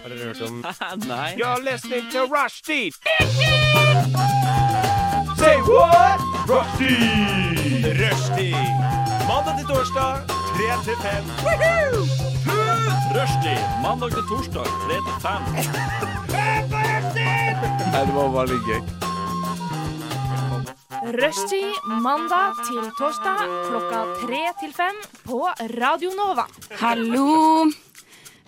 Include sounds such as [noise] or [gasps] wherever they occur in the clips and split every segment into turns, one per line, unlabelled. Har dere hørt om
Nei.
You're listening to Rushdie! Say what? Rushdie! Rushdie! Mandag til torsdag, 3 til 5. Rushdie! Mandag til torsdag, 3 til 5.
det var veldig gøy.
Rushtid mandag til torsdag klokka tre til fem på Radio Nova.
Hallo.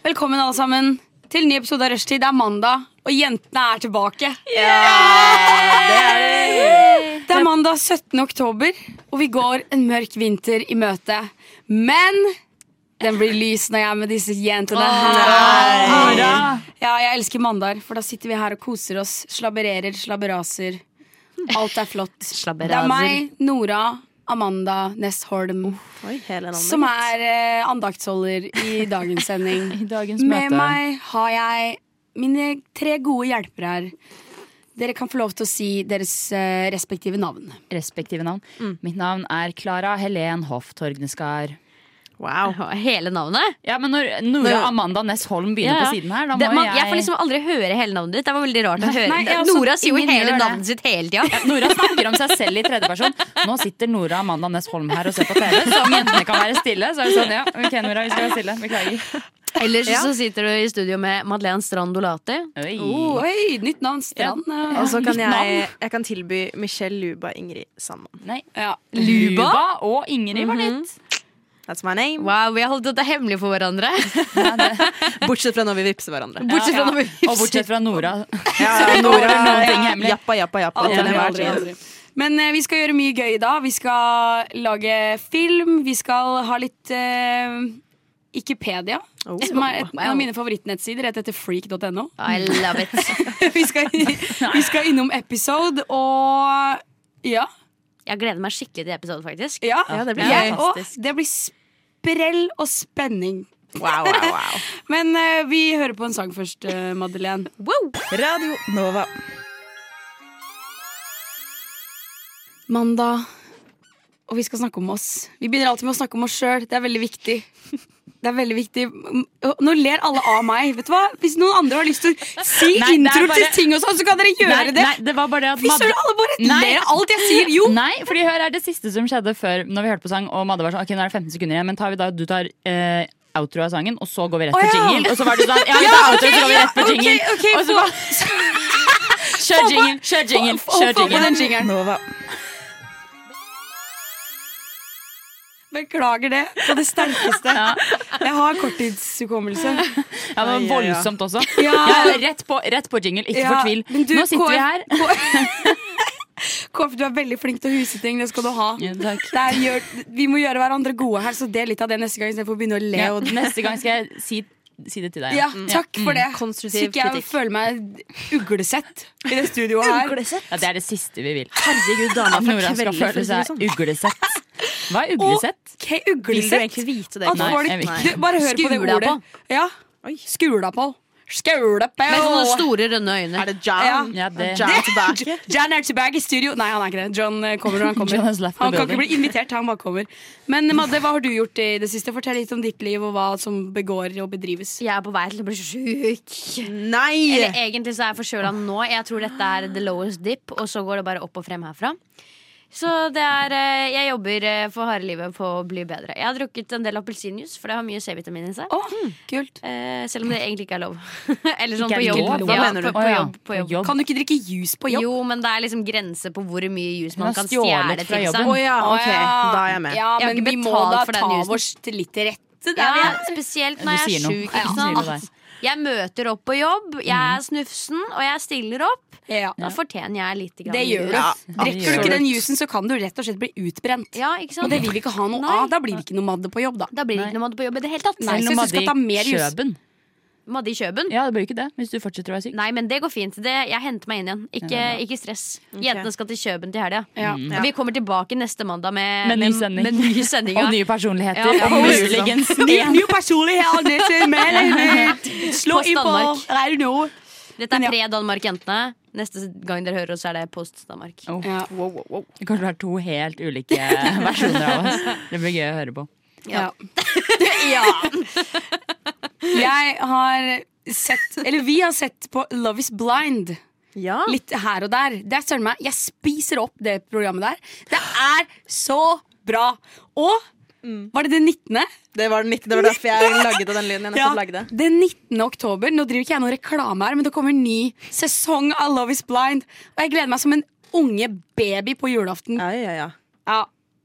Velkommen alle sammen til ny episode av Rushtid. Det er mandag, og jentene er tilbake. Det er mandag 17. oktober, og vi går en mørk vinter i møte. Men den blir lys når jeg er med disse jentene. Ja, jeg elsker mandager, for da sitter vi her og koser oss. Slabbererer, slabberaser. Alt er
[laughs]
flott. Det er meg, Nora, Amanda Næss Holm.
Oi, hele navnet.
Som er eh, andaktsholder i dagens sending.
[laughs]
I dagens
Med
møte.
meg har jeg mine tre gode hjelpere her. Dere kan få lov til å si deres eh, respektive navn.
Respektive navn.
Mm.
Mitt navn er Klara Helen Hoff Torgneskar.
Wow.
Hele navnet?
Ja, men når Nora
Når-
Amanda Næss Holm begynner
Ja, ja.
på siden her, da må
Det, man,
jo
jeg
jeg
får liksom aldri høre hele navnet ditt. Det var veldig rart å høre
Nei, jeg også-
Nora sier jo
ingen gjør
hele
det.
navnet sitt hele tida.
Nora snakker om seg selv i tredjeperson. Nå sitter Nora Amanda Næss Holm her og ser på TV, så om jentene kan være stille, så er det sånn ja, ok Nora, vi skal være stille. Beklager.
Ellers så sitter du i studio med Madeleine Strand Dolati.
Oi.
Mm. Oh, Oi, nytt navn. Strand. eh.
Og så kan
Mitt navn.
jeg, jeg kan tilby Michelle Luba Ingrid Sandman.
Nei.
Ja.
Luba og Ingrid var nytt.
Mhm.
That's my name.
Wow, vi har holdt dette hemmelig for hverandre.
Bortsett fra når vi vippser hverandre.
Bortsett
Ja,
fra
ja.
når vi
Og bortsett fra Nora.
Ja,
Nora, noen ting hemmelig.
Jappa, jappa, jappa.
Aldri,
til enhver
aldri,
tid.
aldri. Men eh, vi skal gjøre mye gøy i dag. Vi skal lage film. Vi skal ha litt uh, Ikepedia,
Oh.
som er et av mine favorittnettsider, rett etter [laughs] freak.no.
[laughs] I love it.
vi, skal, vi skal innom episode og ja.
Jeg gleder meg skikkelig til episoden, faktisk.
ja.
Ja, det blir
Jeg
gøy.
og- det blir sprell og spenning.
Wow, wow, wow.
Men eh, vi hører på en sang først, eh, Madeleine.
Wow!
Radio Nova.
Mandag, og vi skal snakke om oss. Vi begynner alltid med å snakke om oss sjøl. Det er veldig viktig. Det er veldig viktig Mm, Nå ler alle av meg. Vet du hva? Hvis noen andre har lyst til å si
Nei, det er
intro
bare-
til ting og sånn, så kan dere gjøre
Nei,
det.
Nei, det var bare det at
Fy
Madde-
søren, alle bare
Nei.
ler av alt jeg sier. Jo!
Nei, fordi hør her, det siste som skjedde før Når vi hørte på sang, og Madde var sånn Ok, nå er det 15 sekunder igjen, men tar vi da, du tar eh, outro av sangen, og så går vi rett på
Å, ja.
jingle. Og så var du sånn Ja, vi tar outro, så går vi rett på
ok,
jingle.
ok,
og så bare Kjør jingle, kjør jingle,
Få- få
kjør
på den
jingle.
jingeren. Beklager det på det sterkeste. Jeg har korttidshukommelse.
Ja, det var voldsomt også. Ja,
Ja.
rett på, rett på jingle, ikke
Ja,
fortvil.
men du,
Nå sitter vi
Kåre-
her.
[laughs] Kåf, du er veldig flink til å huse ting. Det skal du ha.
Ja, takk.
Det er, gjør, vi må gjøre hverandre gode her, så del litt av det neste gang istedenfor å begynne å le.
Ja, Mm.
Og,
[laughs] neste gang skal jeg si, si det til deg.
ja, takk for det. Så
Konstruktiv
ikke jeg
kritikk.
føler meg uglesett i det studioet her.
Ja, det er det siste vi vil.
Herregud, dama
At
Sånn.
Nora skal føle seg uglesett. Hva er uglesett?
Ok,
Vil du
uglesett.
egentlig vite det?
At
Nei,
folk,
jeg vil
du,
ikke.
bare hør på det
Skula
ordet.
på.
Ja. Skula på. Skula på.
Med
sånn
sånne store, rønne øyne.
Er det John?
Ja, det-
John tilbake?
Jan er tilbake i studio. Nei, han er ikke det. John eh, kommer når han kommer.
John has left the
han kan ikke
building.
bli invitert, han bare kommer. Men Madde, hva har du gjort i det siste? Fortell litt om ditt liv og hva som begår og bedrives.
Jeg er på vei til å bli sjuk.
Nei!
Eller egentlig så er jeg forkjøla nå. Jeg tror dette er the lowest dip, og så går det bare opp og frem herfra. Så det er eh, Jeg jobber eh, for harde livet på å bli bedre. Jeg har drukket en del appelsinjuice, for det har mye C-vitamin i seg.
Å, kult.
Eh, selv om det egentlig ikke er lov. [laughs] Eller sånn
Ikke er
på
det
jobb.
lov? Hva
Ja,
mener du?
På, på jobb, på jobb.
Kan du ikke drikke juice på jobb?
Jo, men det er liksom grenser på hvor mye jus
har
man kan
stjålet
stjele
fra
til
jobben.
seg.
Å ja, ok.
ja.
Da er jeg med.
Ja,
Jeg
men
har ikke
vi må
betalt
da
for den
ta
juicen.
vår til litt til rette. Der
Ja,
vi er.
spesielt
Du
når jeg
sier
er
noe. Ja.
sjuk. ikke
Du sier noe
sant? Jeg møter opp på jobb, jeg er snufsen, og jeg stiller opp.
Ja.
Da fortjener jeg litt. grann
Det gjør du.
jus.
Ja,
Drikker du
absolutt.
ikke den juicen, så kan du rett og slett bli utbrent.
Ja, ikke sant?
Og det vil vi ikke ha noe
Nei.
av. Da blir det ikke noe Madde på jobb, da.
Da blir det ikke noe Madde på jobb i det hele tatt.
Nei,
Selv
så
om
hvis du skal ta
Madde i
mer jus-
Kjøben.
Madde i Kjøben?
Ja, det blir jo ikke det hvis du fortsetter å være syk.
Nei, men det går fint. Det, jeg henter meg inn igjen. Ikke, ikke stress. Jentene skal til Kjøben til helga.
Ja.
Og Vi kommer tilbake neste mandag med,
Med ny sending.
Med,
[laughs]
ny sending ja.
Og nye personligheter.
Ja,
og
ja.
muligens
Ny,
det.
ny personlighet, det som melder Slå
Post
inn på
Danmark.
Radio Nå.
Dette
Men
er
ja.
pre-Danmark-jentene. Neste gang dere hører oss, er det post-Danmark.
Oh,
Ja.
Wow, wow, wow.
det kan være to helt
[laughs]
ulike versjoner av oss. Det blir gøy å høre på.
Ja. ja. Jeg har sett Eller vi har sett på Love is blind.
Ja.
Litt her og der. Det er søren meg Jeg spiser opp det programmet der. Det er så bra! Og var det den 19.?
Det var den 19. Det var derfor jeg lagde den lyden. Jeg nettopp lagde.
Den 19. oktober. Nå driver ikke jeg noe reklame her, men det kommer en ny sesong av Love is blind. Og jeg gleder meg som en unge baby på julaften.
Ja, ja, ja.
Ja.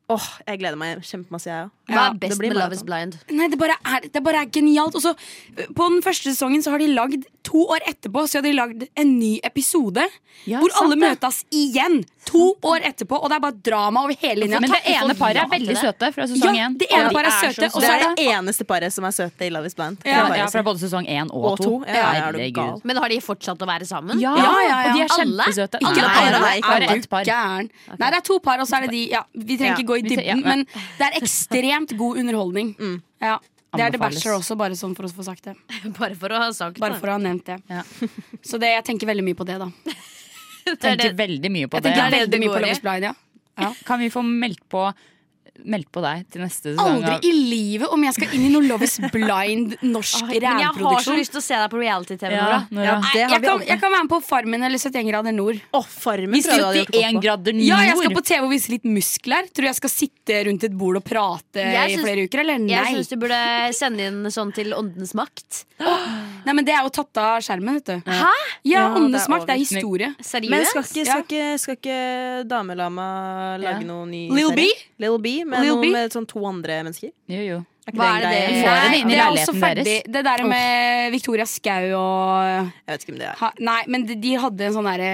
Åh, jeg gleder meg kjempemasse, jeg òg.
Hva
Ja,
er best
det blir
med Love is
maraton.
Blind?
Nei, det bare er, det bare er genialt. Og så, ø, på den første sesongen så har de lagd to år etterpå Så har de lagd en ny episode
Ja,
hvor
sant
alle
det.
møtes igjen. To år etterpå, og det er bare drama over hele linja.
Men det ene paret er veldig søte fra sesong
Ja,
én.
det ene
Og de
paret er
så
søte, og
Det
så
er
er
det eneste paret som er søte i Love is blind.
Ja,
Det er bare
ja,
sånn.
altså.
fra både sesong én og,
Og to. Ja, ja, er du gal.
Herregud.
Men har de fortsatt å være sammen?
Ja,
Ja, ja, ja.
og de er
Alle?
kjempesøte.
Ikke
Nei,
alle,
nei,
ikke
bare
alle.
ett par.
Gæren. Nei, det er to par, og så er det de. Ja, vi trenger
Ja,
ikke gå i
vi tre- ja,
dybden,
men-
men det er ekstremt god underholdning. Ja, det er The
Anbefales.
Bachelor også, bare sånn for å få sagt det.
[laughs] Bare for å ha sagt
Bare for å ha nevnt det.
Ja.
Så det, jeg tenker veldig mye på det, da.
[laughs] det.
Tenker veldig mye på
Jeg
det.
tenker
er det det
veldig mye
går
på
i.
Love is Blind, ja.
Kan vi få meldt på, meldt på deg til neste sesong? av-
Aldri i livet om jeg skal inn i noe Love is [laughs] Blind norsk
Men jeg har så
rævproduksjon.
lyst til å se deg på reality-TV.
Ja,
Nora.
Nora.
Ja,
Nei,
det
Jeg,
har vi
kan-
aldri.
jeg kan være med på Farmen eller 71 grader nord.
Åh, farmen
Hvis
tror jeg du hadde gjort godt
71
på.
grader nord.
Ja, jeg skal på TV og vise litt muskler. Tror du jeg skal sitte rundt et bord og prate
Jeg
i
syns-
flere uker, eller?
Jeg
Nei.
syns du burde sende inn sånn til Åndens makt.
Nei, men det er jo tatt av skjermen, vet du.
Hæ?
Ja,
Ja, det
Åndenes
er
makt, det er
overraskende.
historie.
Men
Seriøst?
skal ikke, skal ikke, skal ikke Damelama lage
Ja.
noen ny
Lil
serie?
B?
Lil B med,
Lil
noen,
B?
med sånn to andre mennesker?
Jo, jo.
Er ikke det en
Hva er det
greie?
det-
Får dere det inn i
det er også
leiligheten
ferdig.
deres?
Det der med Victoria Skau og
Jeg vet ikke om det er
ha, Nei, men de, de hadde en sånn derre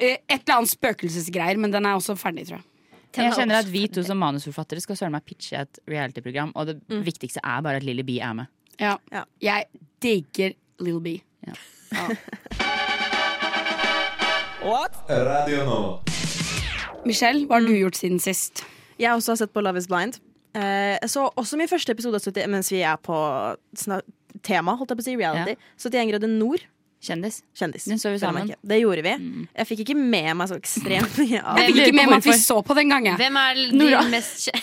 eh, Et eller annet spøkelsesgreier, men den er også ferdig, tror jeg.
Jeg kjenner at vi to som manusforfattere skal søren meg pitche et reality-program, og det viktigste er bare at Lilly B er med.
Ja.
Ja.
Jeg digger Little B.
Radio Nova.
Michelle, hva har du gjort siden sist?
Jeg også har sett på Love is Blind. Eh, jeg så også min første episode av 70, mens vi er på sna- tema, holdt jeg på å si, reality. 71 grader nord.
Kjendis.
Kjendis.
Den så vi
Føler meg
sammen.
ikke. Det gjorde vi. Jeg fikk ikke med meg så ekstremt mye av
Jeg fikk
lurer
ikke
på
med meg at vi
hvorfor.
så på den gangen.
Hvem er
Nora.
din mest kje-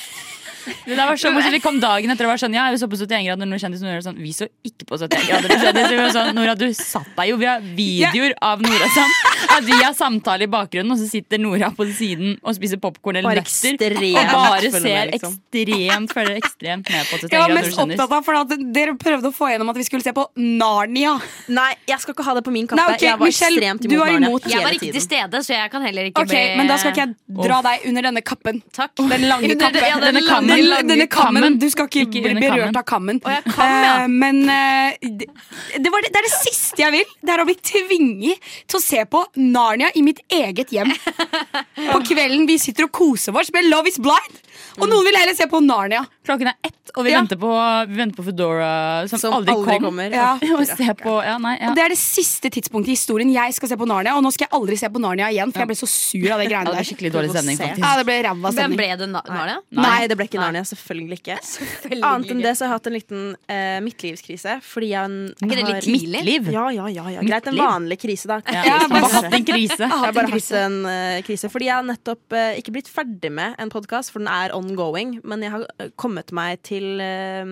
Det der var så morsomt. Vi kom dagen etter og var sånn Ja, vi så på 71 grader når kjendis Nora var sånn Vi så ikke på 71 grader når kjendis. Vi var sånn, Nora, du satt deg jo. Vi har videoer av Nora som at vi har samtale i bakgrunnen, og så sitter Nora på siden og spiser popkorn eller
Bare
nøtter.
ekstremt
Og bare
følger
ser
med, liksom.
ekstremt, følger ekstremt med på 71
Jeg var
grader
mest
når kjendis.
opptatt av for at Dere prøvde å få gjennom at vi skulle se på Narnia.
Nei, jeg skal ikke ha det på min kappe.
Nei, ok,
jeg var
Michelle,
ekstremt
du var
imot Narnia
imot.
hele
Jeg var ikke til
tiden.
stede, så jeg kan heller ikke
Ok, Men da skal ikke jeg dra deg under denne kappen.
Takk.
Den lange
Under-
kappen.
ja, den
Denne
lange-
Den-
lange
denne kammen.
kammen.
Du skal ikke,
Ikke
bli
under
berørt
kammen.
av kammen.
Å, jeg kan, ja.
Eh, men eh, det, det, var det, det er det siste jeg vil. Det er å bli tvinget til å se på Narnia i mitt eget
[laughs]
hjem. På kvelden vi sitter og koser oss med Love is blind.
Mm.
Og noen vil heller se på Narnia.
Klokken er ett, og vi
Ja.
venter på, vi venter på Foodora, som,
Som
aldri,
aldri
kom.
kommer.
Ja.
[laughs] Og se på, ja, nei, ja.
Det er det siste tidspunktet i historien jeg skal se på Narnia. Og nå skal jeg aldri se på Narnia igjen, for jeg ble så sur av det
Ja,
greiene
det var
der.
skikkelig dårlig stemning,
Provosert.
Ja,
faktisk.
det ble ræva
Hvem
stemning.
ble det nå, Nora?
Nei, det ble ikke Narnia. Selvfølgelig ikke. Annet enn det så har jeg hatt en liten eh, midtlivskrise. Fordi jeg
Er ikke det litt tidlig?
Liv.
Ja, ja, ja, ja. Greit, en
Midtliv?
vanlig krise, da.
Ja,
Ja, altså.
som
bare-
har hatt en krise.
Jeg har bare hatt en eh, krise. Fordi jeg har nettopp eh, ikke blitt ferdig med en podkast, for den er ongoing. Men jeg har eh, kommet meg til eh,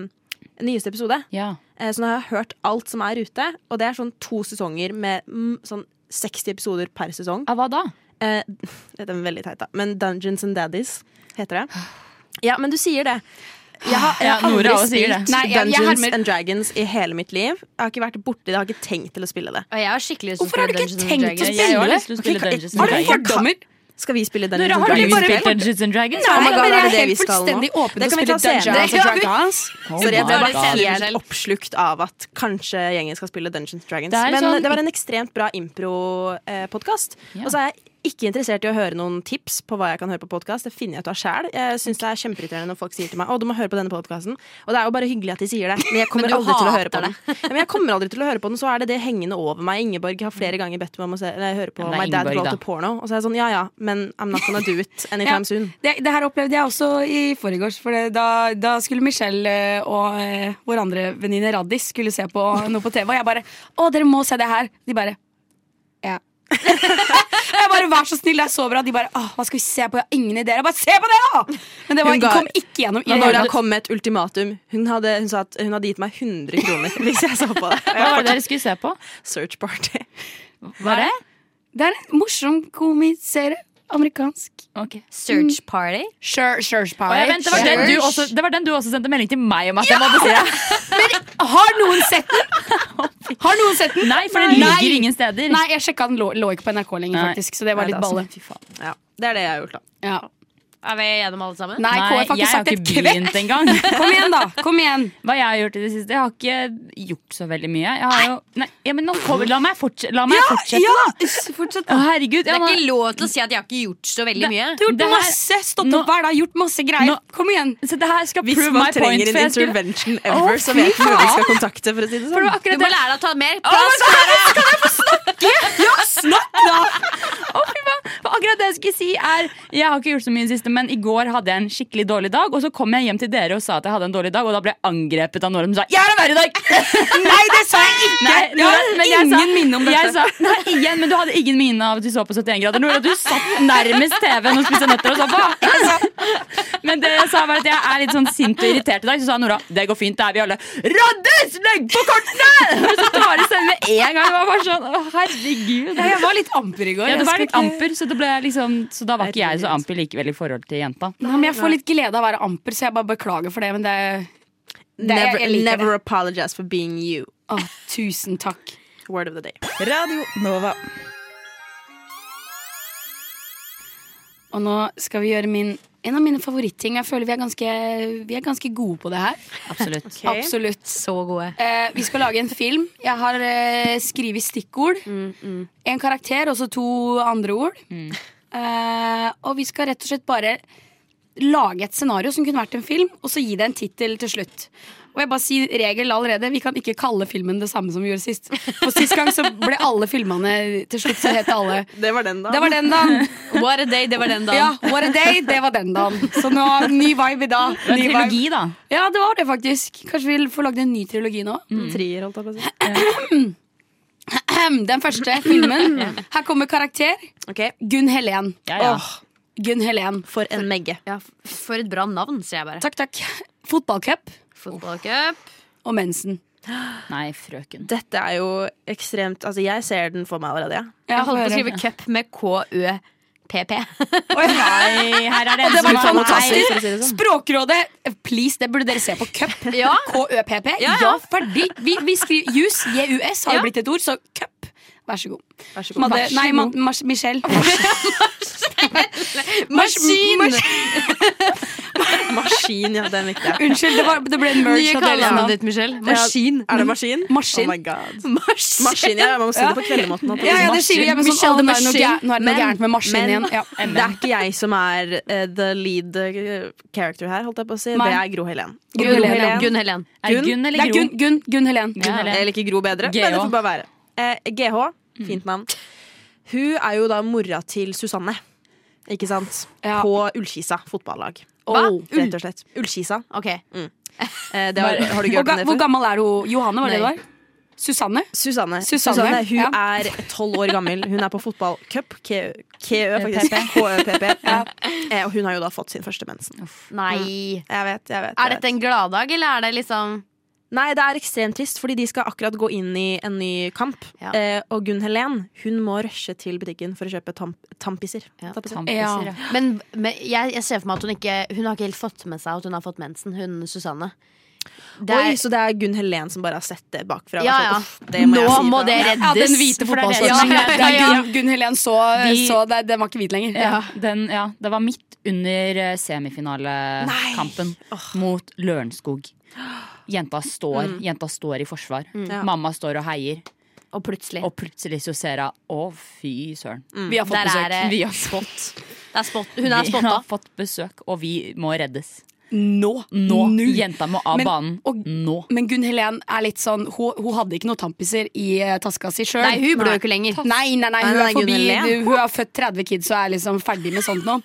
nyeste episode.
Ja.
Eh, så nå har jeg hørt alt som er ute. Og det er sånn to sesonger med mm, sånn 60 episoder per sesong.
Ja, hva da?
Eh, [laughs] dette er veldig teit, da. Men Dungeons and Daddies heter det. Ja, men du sier det. Jeg har, jeg
Ja,
har aldri
Nora også sier
spilt
det.
Nei, jeg- jeg
Dungeons
hermer-
and Dragons i hele mitt liv. Jeg har ikke vært borti det, jeg har ikke tenkt til å spille det.
Og jeg har skikkelig lyst til å
Hvorfor har
spille
du ikke
Dungeons
tenkt å
and Dragons.
spille?
Jeg
Mm.
har lyst til å spille
Ok,
Dungeons and
har
Har du
Nei, jeg
Dragons.
fått-
fordommer?
Skal vi spille Dungeons
Nora,
and
har du
Dragons?
bare-
spilt Dungeons and Dragons?
Oh my
Nei, men
God, er
jeg
det
er
det vi
helt
skal nå?
fullstendig åpen
Da
til å
kan vi
spille
ta senere.
Dungeons and Dragons.
Oh
altså, Sorry, jeg
my
ble
var
God.
det senere.
helt oppslukt av at kanskje gjengen skal spille Dungeons and Dragons.
Det er
Men
sånn-
det var en ekstremt bra impro-podkast.
Ja.
Og så er jeg ikke interessert i å høre noen tips på hva jeg kan høre på podkast. Det finner jeg ut av sjæl. Jeg syns det er kjempeirriterende når folk sier til meg Å, du må høre på denne podkasten. Og det er jo bare hyggelig at de sier det, men jeg kommer
Men du
aldri til å
hater
høre på den. Ja, Men jeg kommer aldri til å høre på den, så er det det hengende over meg. Ingeborg har flere ganger bedt meg om å se, eller, høre på
Ja, men det er
My Dad
Ingeborg,
Brought
da.
to Porno. Og så er jeg sånn ja ja, men I'm not gonna do it anytime soon.
Det, det her opplevde jeg også i forgårs. For det, da, da skulle Michelle eh, og eh, vår andre [laughs] venninne Raddis skulle se på noe på TV. Og jeg bare 'Å, dere må se det her'. De bare 'Ja, [laughs] Jeg bare, vær så snill, det er så bra. De bare, åh, hva skal vi se på? Jeg har ingen ideer. Jeg bare, se på det, da! Men det
Hun
var,
ga-
kom ikke gjennom. i det hele
Laura
tatt.
kom med et ultimatum. Hun, hadde, hun sa at hun hadde gitt meg 100 kroner [laughs] hvis jeg så på det.
Hva var det
Og jeg fortsatt
dere skulle se på?
search party.
Var det?
Det er en morsom komiserie. Amerikansk.
Ok.
Search party.
Sure, sure,
Å, ja, vent, det, var den du også, det var den du også sendte melding til meg om at jeg måtte se.
Har noen sett den?
[laughs]
Har noen sett den?
Nei, for den
Nei.
ligger ingen steder.
Nei, jeg sjekka den lå, lå ikke på NRK lenger,
Nei.
faktisk. Så det var
Nei,
litt
det er
balle.
altså- Ja, det er det jeg har gjort, da.
Ja.
Er vi gjennom alle sammen?
Nei,
Nei,
KF har
jeg
ikke sagt
har
et
ikke
kvekk.
begynt engang.
[laughs] Kom igjen, da. Kom [laughs] igjen.
Hva jeg har gjort i det siste? Jeg har ikke gjort så veldig mye. Jeg har jo, nei, ja, men nå kommer, la meg, fortse, la meg fortsette, da!
Fortsett.
Å, herregud.
Det
Ja,
er
nå,
ikke lov til å si at jeg har ikke gjort så veldig mye.
Du har gjort
Det her-
masse. Stått
Nå-
opp hver dag, gjort masse greier.
Nå-
Kom igjen.
så det her skal
Hvis
prove my
man
point.
trenger
for
en
jeg skulle-
intervention
Å,
ever, så
fy
vet vi hvem vi skal
faen.
kontakte. For å si det
For det var
sånn.
Du
akkurat
må
det.
lære deg å ta mer plass.
Å, fy faen. For akkurat det jeg skulle si er Jeg har ikke gjort så mye i det siste, men i går hadde jeg en skikkelig dårlig dag. Og så kom jeg hjem til dere og sa at jeg hadde en dårlig dag, og da ble jeg angrepet av Nora som sa 'Jeg har en verre dag'!
[laughs] Nei, det sa jeg ikke!
Nei,
jeg
Nora,
har
men jeg sa-
ingen minne om
Jeg
dette.
sa, nei, igjen, men du hadde ingen minne av at du så på 71 grader nord. Og du satt nærmest TV-en og spiste nøtter og så på.
[laughs]
Jeg sa- Men det jeg sa var at jeg er litt sånn sint og irritert i dag. Så sa Nora det går fint, det er vi alle. Raddes, legg på
[laughs]
kortene! Og så tar det seg med en gang. Det var bare sånn, å herregud.
Ja, jeg var litt amper i går.
Ja, det
Jeg
var
skulle
litt amper, så, det ble jeg liksom, så da var ikke jeg så amper likevel i forhold til jenta.
Nei, men jeg får litt glede av å være amper, så jeg bare beklager for det. Men det det- jeg-
Never,
jeg liker
never apologize for being you.
Å, tusen takk.
Word of the day.
Og nå skal vi gjøre min, en av mine favoritting. Jeg føler vi er ganske, vi er ganske gode på det her.
Absolutt.
Absolutt.
Så gode.
Eh, vi skal lage en film. Jeg har eh, skrevet stikkord.
Mm,
En karakter og så to andre ord. Eh, og vi skal rett og slett bare lage et scenario som kunne vært en film, og så gi det en tittel til slutt. Og jeg bare sier regel allerede, Vi kan ikke kalle filmen det samme som vi gjorde sist. For Sist gang så ble alle filmene til slutt så het alle
Det var den, da.
Det var den dagen.
What a day, det var den dagen.
Ja, what a day, det var den dagen. Så nå, ny vibe i dag.
Det var
Ny
en
vibe.
trilogi, da.
Ja, det var det faktisk. Kanskje vi får lagd en ny trilogi nå.
En trier, Mm. holdt jeg på å si.
Den første filmen. Her kommer karakter.
Ok,
Gunn Helen.
Ja, ja.
Åh, Gunn Helen.
For en megge.
Ja, f- for et bra navn, sier jeg bare.
Takk, takk. Fotballcup
Fotballcup.
og mensen.
Nei, frøken.
Dette er jo ekstremt Altså, jeg ser den for meg allerede, jeg.
Ja,
Jeg holdt på å
få høre.
skrive cup med K-Ø-P-P.
Nei, her er det en
Det var
som har
fantastisk.
for å si det sånn.
Språkrådet, eh, please, det burde dere se på. Cup.
Ja.
K-ø-p-p. Ja, ferdig. Vi, vi skriver jus. JUS har jo blitt et ord, så cup. Vær så god.
Vær så god.
Madde, nei, Ma Mars Michelle. Maskin!
Maskin, ja, den
[laughs]
likte jeg.
Unnskyld, det, var, det ble en merge.
Nye
av det ene.
kallenavnet ditt, Michelle. Maskin.
Er det maskin?
[laughs] Maskin.
Oh my god.
Maskin.
Maskin, ja, man må si det på kveldemåten. holdt jeg på å si.
Ja, ja, det sier vi hjemme sånn.
Michelle
Å, nå er det noe
Maskin.
gæ- nå er det noe
Men-
gærent med Maskin
men-
igjen. Ja.
Det er ikke jeg som er eh, the lead eh, character her, holdt jeg på å si.
Nei.
Det er Gro Helen. Og
Gro Helen.
Gunn Helen.
Er det
Gunn?
Gunn
Det
eller
er
Gro?
Gunn, Gunn, Gunn Helen. Mm.
Ja, eller-
Jeg liker Gro bedre,
GH.
men det får bare være. Eh, GH, fint navn. Hun er jo da mora til Susanne, ikke sant?
Ja.
På Ullkisa fotballag.
Hva?
Oh, Rett og slett. Ullkisa.
Ok.
Eh, det har, har du
Hvor,
ikke hørt
ga,
om det
hvor
før?
gammel er hun? Johanne, var det det
Nei.
var? Susanne?
Susanne.
Susanne,
Hun
ja.
er tolv år gammel. Hun er på fotballcup. KØ, faktisk. KØPP. Eh, og hun har jo da fått sin første mensen.
Nei.
Mm.
Jeg vet, jeg vet. jeg
Er dette en gladdag, eller er det liksom
Nei, det er ekstremt trist, fordi de skal akkurat gå inn i en ny kamp.
Ja.
Eh, og Gunn Helen hun må rushe til butikken for å kjøpe tamp tampiser.
Ja.
Tampiser.
Tampiser,
Ja.
ja.
Men, men jeg, jeg ser for meg at hun ikke Hun har ikke helt fått med seg at hun har fått mensen, hun Susanne. Det er-
Oi, så det er Gunn Helen som bare har sett det bakfra. og
Ja,
så,
ja.
uff, det må
Nå
jeg si
må
fra. [laughs]
det reddes.
Ja, den hvite
for det er det-
fotballsorten.
Ja, ja, ja, ja.
Gunn, Gunn Helen så,
De-
så det, den var ikke hvit lenger.
Ja, den, ja, det var midt under eh, semifinalekampen mot Lørenskog. Jenta står, jenta står i forsvar.
Ja.
Mamma står og heier,
[laughs] Og plutselig.
og plutselig så ser hun Å, fy søren.
Vi har fått
Der er
besøk.
det
Vi har fått,
Det er spot, hun er
vi har
spotta.
fått besøk, og vi må reddes.
Nå!
Nå!
Nå.
Jenta må av
Men-
banen.
og-
Nå.
Men Gunn Helen er litt sånn Hun, hun hadde ikke noe tampiser i eh, taska si sjøl.
Nei, hun blør jo ikke lenger.
Nei, nei, nei, hun
Nei, nei,
er forbi
Gunn Helen.
Hun har født 30 kids og er liksom ferdig med sånt nå.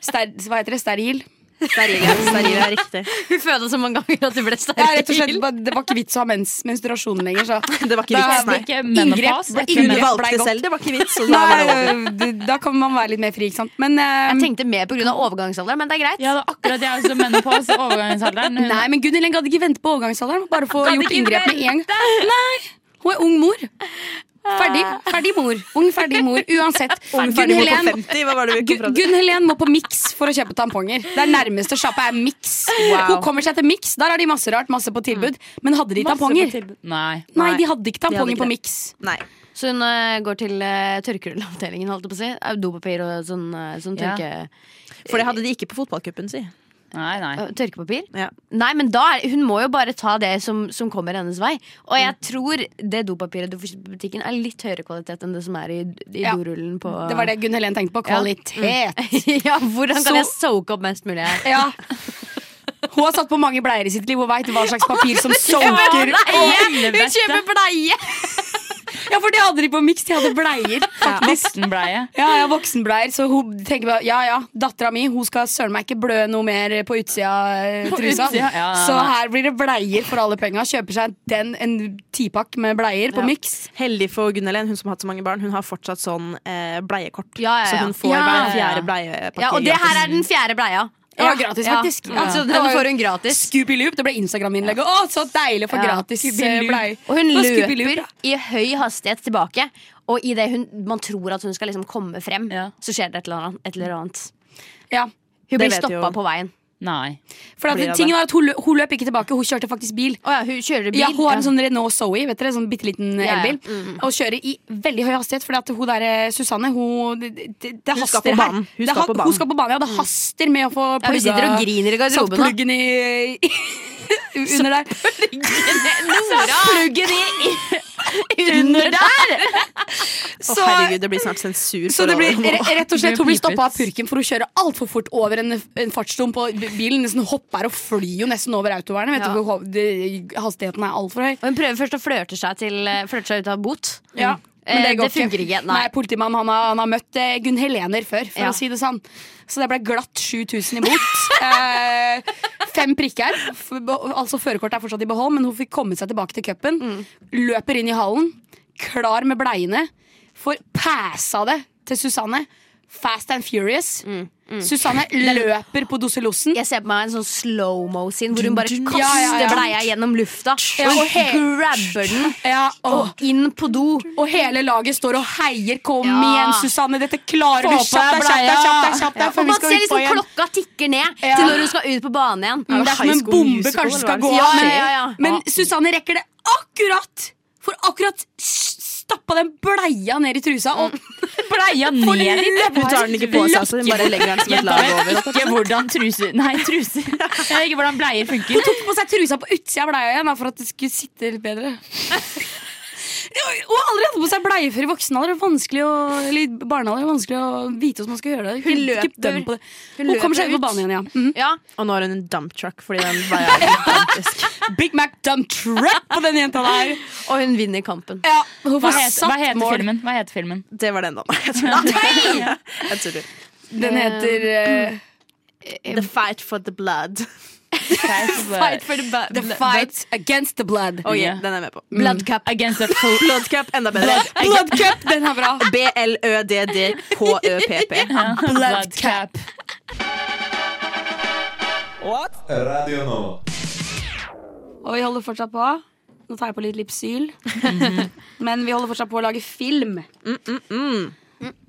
Ster, hva heter det? Steril?
Steril, ja. Steril er riktig.
Hun fødte så mange ganger at hun ble
Det, er rett og slett,
steril.
bare- det var ikke vits å ha mens, menstruasjon lenger, så.
Det var ikke
Da-
vits, nei.
Ikke
Inngrep
menopaus. det
ble
er
inngrep.
ikke
Hun
det
menopaus.
ble
valgte
godt.
selv, det var ikke vits. Så da var det over.
Nei, det- da kan man være litt mer fri, ikke sant. Men, eh,
Jeg tenkte mer pga. overgangsalderen, men det er greit.
Ja, det er akkurat det jeg også mener på. Så overgangsalderen. Hun,
nei, men Gunnhild Eng hadde ikke ventet på overgangsalderen. Bare få
Hadde
gjort
ikke
inngrep med en gang. Nei, hun er ung mor. Ferdig, ferdig mor. Ung, ferdig mor. Uansett.
Ferdig
Gunn
med på
Helen
50, hva var det vi kom fram til?
Gunn Helen må på Mix for å kjøpe tamponger. Det er nærmeste sjappa er Mix. Hun kommer seg til Mix, der har de masse rart, masse på tilbud. Men hadde de tamponger?
nei.
Nei, de hadde ikke tamponger
ikke
på
det.
Mix.
Nei.
Så hun eh, går til uh, tørkerullavdelingen, holdt jeg på å si. Eh, Dopapir og sånn, eh, sånn
Ja.
tørke,
For det hadde de ikke på fotballcupen, si.
Nei, nei.
eh, tørkepapir.
Ja.
Nei, men da er, hun må jo bare ta det som, som kommer hennes vei. Og jeg tror det dopapiret du får kjøpt på butikken, er litt høyere kvalitet enn det som er i, i
Ja.
dorullen på
Det var det Gunn Helen tenkte på. Kvalitet.
[laughs] ja, hvordan
Så-
kan jeg soake opp mest mulig her?
Ja. Hun har satt på mange bleier i sitt liv og veit hva slags papir som soaker.
Hun kjøper bleie!
Ja, for det hadde de på Mix. De hadde bleier. faktisk.
Voksenbleie.
Ja, ja, voksenbleier. Så hun tenker bare ja, ja, dattera mi hun skal søren meg ikke blø noe mer på utsida eh, trusa.
utsida, ja, ja, ja.
Så her blir det bleier for alle penga. Kjøper seg den, en tipakk med bleier på Mix.
Heldig for Gunnelen, hun som har hatt så mange barn, hun har fortsatt sånn eh, bleiekort.
Ja, ja, ja.
Så hun får
Ja,
hver
ja,
fjerde
ja.
bleiepakke.
Ja, og det
gratis.
her er den fjerde bleia.
Ja, gratis, faktisk. Ja.
Altså, den får hun gratis.
Scoopy Loop, det ble Instagram-innlegget. Å, så deilig å få
Ja.
gratis eh,
Scoopy Loop.
bleier.
Og hun
Og Scoopy Loop,
løper i høy hastighet tilbake. Og idet man tror at hun skal liksom komme frem,
Ja.
så skjer det et eller annet. Et eller annet.
Ja.
Hun
Det
blir
vet jo-
stoppa på veien.
Nei.
For
Blir
at,
det
tingen var at hun, lø- hun løp ikke tilbake, hun kjørte faktisk bil.
Å ja, hun kjører bil.
Ja, hun har en sånn Renault Zoe, vet dere, sånn bitte liten
Ja, ja.
elbil.
Mm,
Og kjører i veldig høy hastighet, fordi at hun der eh, Susanne, hun Det, det, det
Hun skal
haster
på
her.
banen. Hun
det,
skal
ha-
på banen.
Hun skal på banen, ja. Det haster med å få
Ja, hun sitter og griner i
Satt
garderoben. da.
pluggen i [laughs] Under der.
Nora! Pluggen i, i [laughs] under der!
Å,
Så-
herregud, det blir snart sensur.
Så det
for
blir
alle.
re- rett og slett Hun blir
Det blir
stoppa av
pipet.
purken for hun kjører altfor fort over en, en fartsdom på bilen. Nesten hopper og flyr jo nesten over autovernet. Vet
Ja.
du, hvor ho- det- hastigheten er altfor høy.
Og hun prøver først å flørte seg, til, flørte seg ut av bot.
Ja. Mm. Men
Eh,
det, går
det funker ikke.
Nei,
Nei.
Politimannen han har, han har møtt eh, Gunn Helener før, for
Ja.
å si det sånn. Så det ble glatt 7000 i bot. [laughs] eh, fem prikker. F altså Førerkortet er fortsatt i behold, men hun fikk komme seg tilbake til cupen.
Mm.
Løper inn i hallen, klar med bleiene. Får passa det til Susanne. Fast and furious. Susanne løper på doselossen.
Mm. Jeg ser på meg en sånn slow-mo-scene hvor hun bare
Dun, dun,
kaster
dun. Ja, ja, ja.
bleia gjennom lufta.
Ja,
og
og he-
grabber den
Ja, åh.
og inn på do.
Og hele laget står og heier. Kom
Ja.
igjen, Susanne, dette klarer
Få
du!
på
Kjapp
deg
deg, kjapp deg!
bleia.
kjapp deg, kjapp deg
Og
for vi
man
skal
ser
ut på
liksom
igjen.
klokka tikker ned
Ja.
til når hun skal ut på banen igjen.
Mm, Det er som en
High School
bombe
Musical,
kanskje skal
eller
gå
hva
av.
det heter?
Men,
Ja, ja, ja.
men Susanne rekker det akkurat! For akkurat stappa den bleia ned i trusa. Og
Mm.
Bleia
For
ned i
løp-
Hun tar den ikke på seg,
altså.
så hun bare legger den som et
Jeg
lag over.
vet ikke hvordan truser Nei, truser. Jeg vet ikke hvordan bleier
hun
funker.
tok på seg trusa på utsida av bleia igjen da, for at det skulle sitte litt bedre.
[laughs]
Hun har aldri hatt på seg bleie før i voksen alder. Det er vanskelig å- Eller i barnealder. det er Vanskelig å vite hvordan man skal gjøre det. Hun,
Hun
ikke
løper.
døm på det.
Hun
Hun,
løper
kommer seg ut
ut.
på banen igjen, ja. Mhm.
Ja,
Og nå har hun en dump truck fordi den veia er gigantisk.
Big Mac dump trap på den jenta der.
Og hun vinner kampen.
Ja, hun
Hva
får
heter, hva
satt
heter
mål.
filmen? Hva heter filmen?
Det var den, da. Jeg tuller. Jeg tuller.
Den heter eh,
The fight for the blood.
Fight for the, ba-
The Fight Against the Blood. Mm.
Oh,
Ja.
yeah, den er jeg med på.
blood cup.
Against the full
Bloodcup, enda bedre.
Blood Cup,
Um,
den er bra.
B-l-ø-d-d-k-ø-p-p.
blood cap.
Radio nå.
Og vi holder fortsatt på. Nå tar jeg på litt Lipsyl. Mhm. [laughs] Men vi holder fortsatt på å lage film.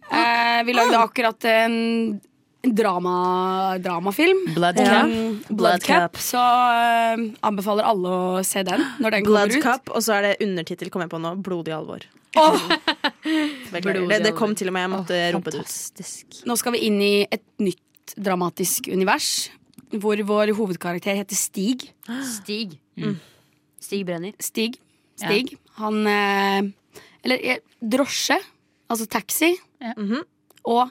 Eh, vi lagde akkurat en en drama, dramafilm.
Blood cap.
Mm, Blood
Blood
Cup.
Cup.
Så eh, anbefaler alle å se den når den kommer ut.
Bloodcup, og så er det undertittel, kom jeg på nå, Blodig alvor. [laughs] Beklager. Det, det kom til og med jeg måtte rope det ut.
Nå skal vi inn i et nytt dramatisk univers. Hvor vår hovedkarakter heter Stig. Mm.
Stig. Mm. Stig Brenner.
Stig. Stig. Han eh, Eller eh, drosje. Altså taxi.
Ja.
Mhm.
Og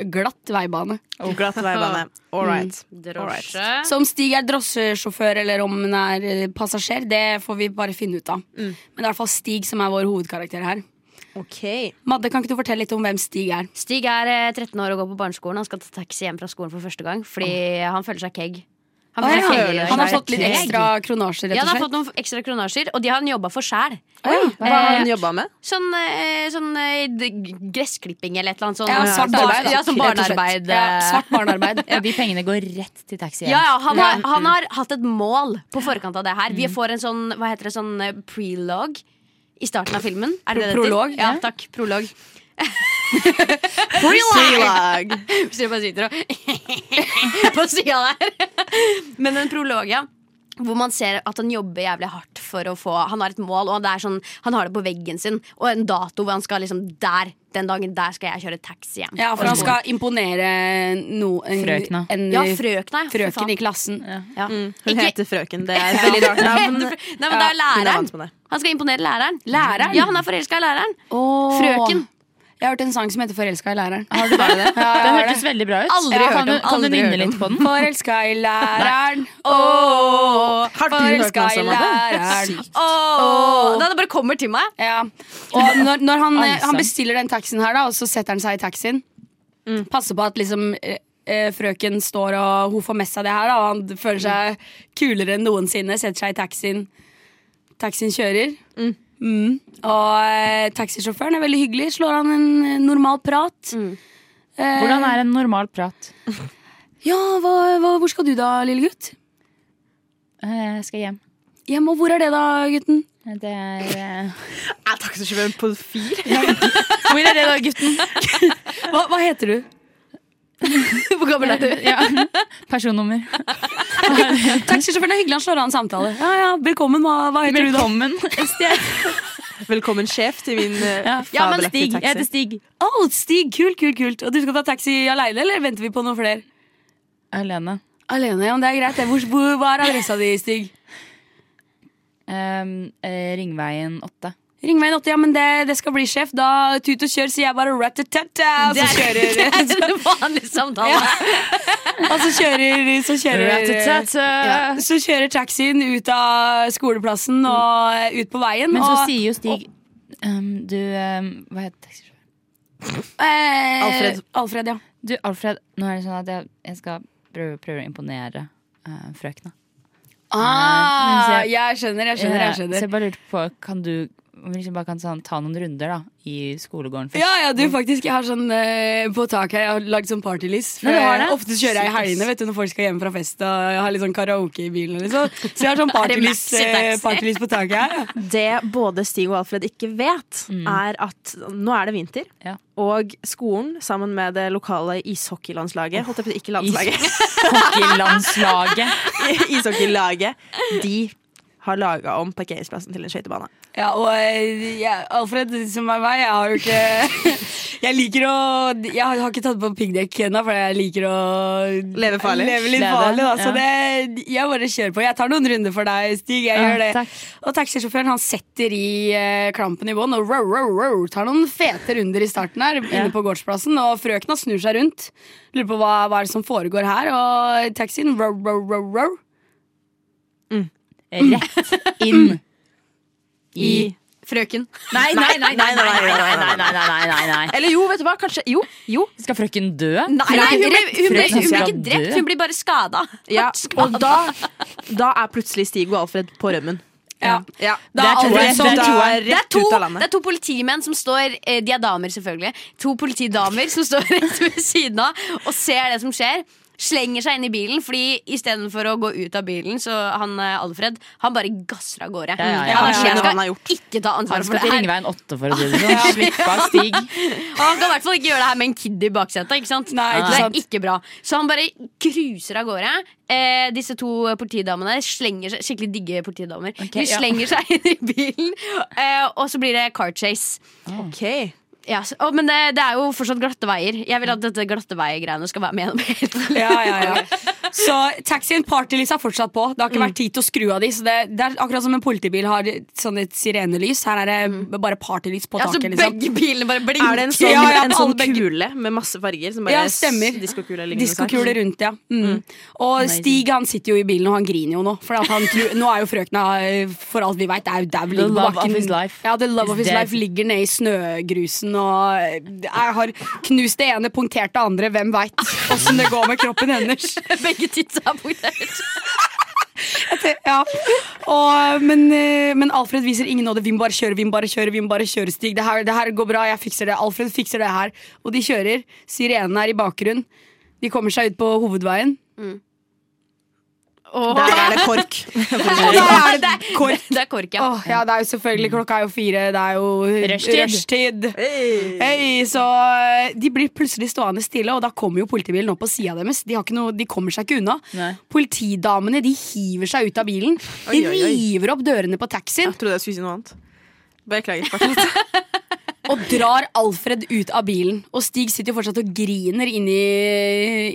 glatt veibane.
Glatt veibane. All right.
Drosje.
Så om Stig er drosjesjåfør eller om han
Mm.
er eh, passasjer, det får vi bare finne ut av. Men det er i hvert fall Stig som er vår hovedkarakter her.
Ok.
Madde, kan ikke du fortelle litt om hvem Stig er?
Stig er eh, 13 år og går på barneskolen. Han skal ta taxi hjem fra skolen for første gang fordi han føler seg kegg. Han, føler seg kegg i
Han har
år.
fått litt ekstra kronasje, rett
Ja, han
og
har
slett.
fått noen ekstra kronasjer, og de har han jobba for sjæl.
Hva har han jobba med?
Sånn, eh, sånn eh, d- gressklipping eller et eller annet sånt.
Ja, svart
Bar-
arbeid, da,
Ja, sånn
rett og slett.
barnearbeid.
Ja,
eh.
svart barnearbeid.
Og de pengene går rett til taxi
Ja,
igjen.
ja, han, har, han har hatt et mål på forkant av det her.
Mm.
Vi får en sånn, hva heter det, sånn eh, prelog i starten av filmen. Er det det det heter?
Prolog,
Ja, takk. Prolog.
Prelag.
Så jeg bare sitter og [laughs] på sida der. Men en prolog, ja. Hvor man ser at han jobber jævlig hardt for å få Han har et mål, og det er sånn, han har det på veggen sin. Og en dato hvor han skal liksom der, den dagen der skal jeg kjøre taxi hjem.
[laughs] Ja, for han skal imponere no, en,
Frøkna.
En,
Ja, frøkna, ja. for
frøken
faen.
i klassen.
Ja.
Hun
Ikke-
heter Frøken. Det er et veldig rart navn.
Nei, men det er jo
Hun er
læreren.
vant med det.
Han skal imponere læreren. Læreren? Ja, han er forelska i læreren. Frøken.
Jeg har hørt en sang som heter 'Forelska i læreren'.
Har du bare det?
[laughs] Ja, jeg
Den
har
hørtes sånn
det.
veldig bra ut.
Aldri
Ja,
hørt
kan du,
om,
kan du
aldri
nynne
hørt
litt på den?
Forelska i læreren,
Åh,
Har du hørt
forelska
noe
i
sånt?
læreren.
åh. Da det bare kommer til meg.
Ja. Og [laughs] når, når han, eh,
Altså.
han bestiller den taxien her, da, og så setter han seg i taxien Passer på at liksom eh, eh, Frøken står og hun får med seg det her, da, og han føler seg kulere enn noensinne. Setter seg i taxien. Taxien kjører. Mm. Og eh, taxisjåføren er veldig hyggelig. Slår han en eh, normal prat. Eh,
Hvordan er en normal prat?
Ja, hva, hva, hvor skal du da, lille gutt?
Eh, Jeg skal hjem.
Hjem, og hvor er det da, gutten?
Det er eh,
Er taxisjåføren på fir?
Hvor er det da, gutten?
Hva, hva heter du?
Hvor gammel er du?
[laughs] Ja. [laughs] Personnummer.
Taxisjåføren er hyggelig, han slår av en samtale. Ja, ja, velkommen, hva, hva heter du da?
Velkommen.
Velkommen, sjef, til min eh,
[laughs] Ja, men
fabelaktige
Stig. Jeg heter
taxi.
Stig.
Å, Stig, kult, kult, kult. Og du skal ta taxi alene, eller venter vi på noen flere?
Alene.
Alene, ja, men det er greit. det. Hvor, hvor, hva er adressa di, Stig?
Ehm, eh, Ringveien 8.
Ring meg en åtte, ja, men det, det skal bli sjef. Da tut og kjør, sier jeg bare rat-a-tat-ta, og så
Det
kjører, [laughs]
[laughs] er en vanlig samtale.
og så kjører, så kjører
Ja.
så kjører taxien ut av skoleplassen og eh, ut på veien.
Men så
og,
sier jo Stig ehm, Du, ehm, hva heter taxisjåføren?
eh,
Alfred.
Alfred, ja.
Du, Alfred, nå er det sånn at jeg, jeg skal prøve, prøve å imponere eh, frøkna.
Ah,
men så-
jeg skjønner, jeg skjønner. jeg
Eh, så
skjønner
jeg bare lurte på, kan du om vi liksom bare kan sånn, ta noen runder da i skolegården først?
Ja, ja, du faktisk, jeg har sånn eh, på taket her, jeg har lagd sånn partylys. For
Nei, du har
jeg-
det?
Ofte kjører jeg i helgene vet du, når folk skal hjem fra fest og jeg har litt sånn karaoke i bilen. Liksom. Så jeg har sånn
det
partylys,
maxi
eh,
taxi?
partylys på taket her. ja.
Det både Stig og Alfred ikke vet,
Mm.
er at nå er det vinter,
Ja.
og skolen sammen med det lokale ishockeylandslaget Holdt jeg på å si ikke landslaget. [laughs]
Hockeylandslaget. [laughs]
Ishockeylaget. De har laga om parkeringsplassen til en skøytebane.
Ja, og eh, jeg- Alfred, som er meg, jeg har jo ikke [laughs] Jeg liker å Jeg har har ikke tatt på piggdekk ennå, for jeg liker å
Leve farlig.
Leve litt
Leve,
farlig da. Så
ja.
det, jeg bare kjører på. Jeg tar noen runder for deg, Stig. Jeg
Ja,
gjør det.
takk.
Og taxisjåføren han setter i eh, klampen i bånn og row, row, row, tar noen fete runder i starten her inne på gårdsplassen. Og frøkna snur seg rundt. Lurer på hva, hva er det som foregår her. Og taxien row, row, row, row.
Rett inn i
Frøken.
Nei, nei, nei, nei, nei, nei, nei, nei, nei, nei, nei, nei.
Eller jo, vet du hva, kanskje Jo, jo.
Skal frøken dø?
Nei, hun, ble, hun, ble, hun ble ikke
Frøken skal
drept,
dø.
hun blir bare skada.
Ja. Og da, da er plutselig Stig og Alfred på rømmen.
Ja.
Ja.
Da er
Alfred
Alfred sånn
da
toeren.
Det er,
rett
to,
ut av
det
landet.
er to politimenn som står eh, De er damer, selvfølgelig. To politidamer som står [laughs] rett ved siden av og ser det som skjer. Slenger seg inn i bilen, Fordi istedenfor å gå ut av bilen, så han eh, Alfred Han bare gasser av gårde.
Ja, ja, ja.
Ja,
Han,
ja, ja.
jeg
Han har gjort.
skal ikke ta
Han
ansvar
skal
for
til
det her.
Ringveien 8, for å si [laughs] det sånn. Slipp av Stig.
Og han kan i hvert fall ikke gjøre det her med en kid i baksetet. Ikke sant?
Nei, ikke
det er
sant.
ikke bra. Så han bare cruiser av gårde. Eh, disse to politidamene slenger seg Skikkelig digge politidamer. de
ja.
slenger seg inn i bilen, eh, og så blir det car chase.
Ok.
Ja, så, å, men det, det er jo fortsatt glatte veier. Jeg vil at dette glatte vei-greiene skal være med gjennom hele.
Ja, ja, Mm. ja. [laughs] Så taxien partylys er fortsatt på. Det har ikke vært tid til å skru av de. Så det, det er akkurat som en politibil har sånn et sirenelys. Her er det b- bare partylys på
Ja, så
taket. liksom.
begge bilene bare blinker.
Er det en sånn,
Ja, ja,
en
alle
sånn
begge-
kule med masse farger? Som bare
Ja, stemmer.
Diskokule liggende sak?
Diskokule rundt, ja. Mm. Og Stig han sitter jo i bilen og han griner jo nå. For at han tror, nå er jo frøkna, eh, for alt vi veit, er jo dau ligger på
love of
bakken.
his life
Ja, the love
is
of his
dead.
life ligger nede i snøgrusen og eh, jeg har knust det ene, punktert det andre. Hvem veit åssen det går med kroppen hennes.
[laughs] Begge titsa er punktert.
ja. og, men, eh, men Alfred viser ingen nåde. Vi må bare kjøre, vi må bare kjøre. vi må bare kjøre, Stig. Det her, det her går bra, jeg fikser det. Alfred fikser det her. Og de kjører. Sirenen er i bakgrunnen. De kommer seg ut på hovedveien.
Mm. Der er det kork.
[laughs]
Og da er det kork.
Det er kork, ja.
[laughs] Åh, ja, det er jo
Mm.
selvfølgelig Klokka er jo fire. Det er jo
Rushtid.
rushtid. Hei, så eh, de blir plutselig stående stille, og da kommer jo politibilen opp på sida deres. De, har ikke noe, de kommer seg ikke unna.
Nei.
Politidamene de hiver seg ut av bilen. De
Oi, oi, oi.
river opp dørene på taxien.
Jeg trodde jeg skulle si noe annet. Beklager. fortsett.
Og drar Alfred ut av bilen. Og Stig sitter jo fortsatt og griner inni,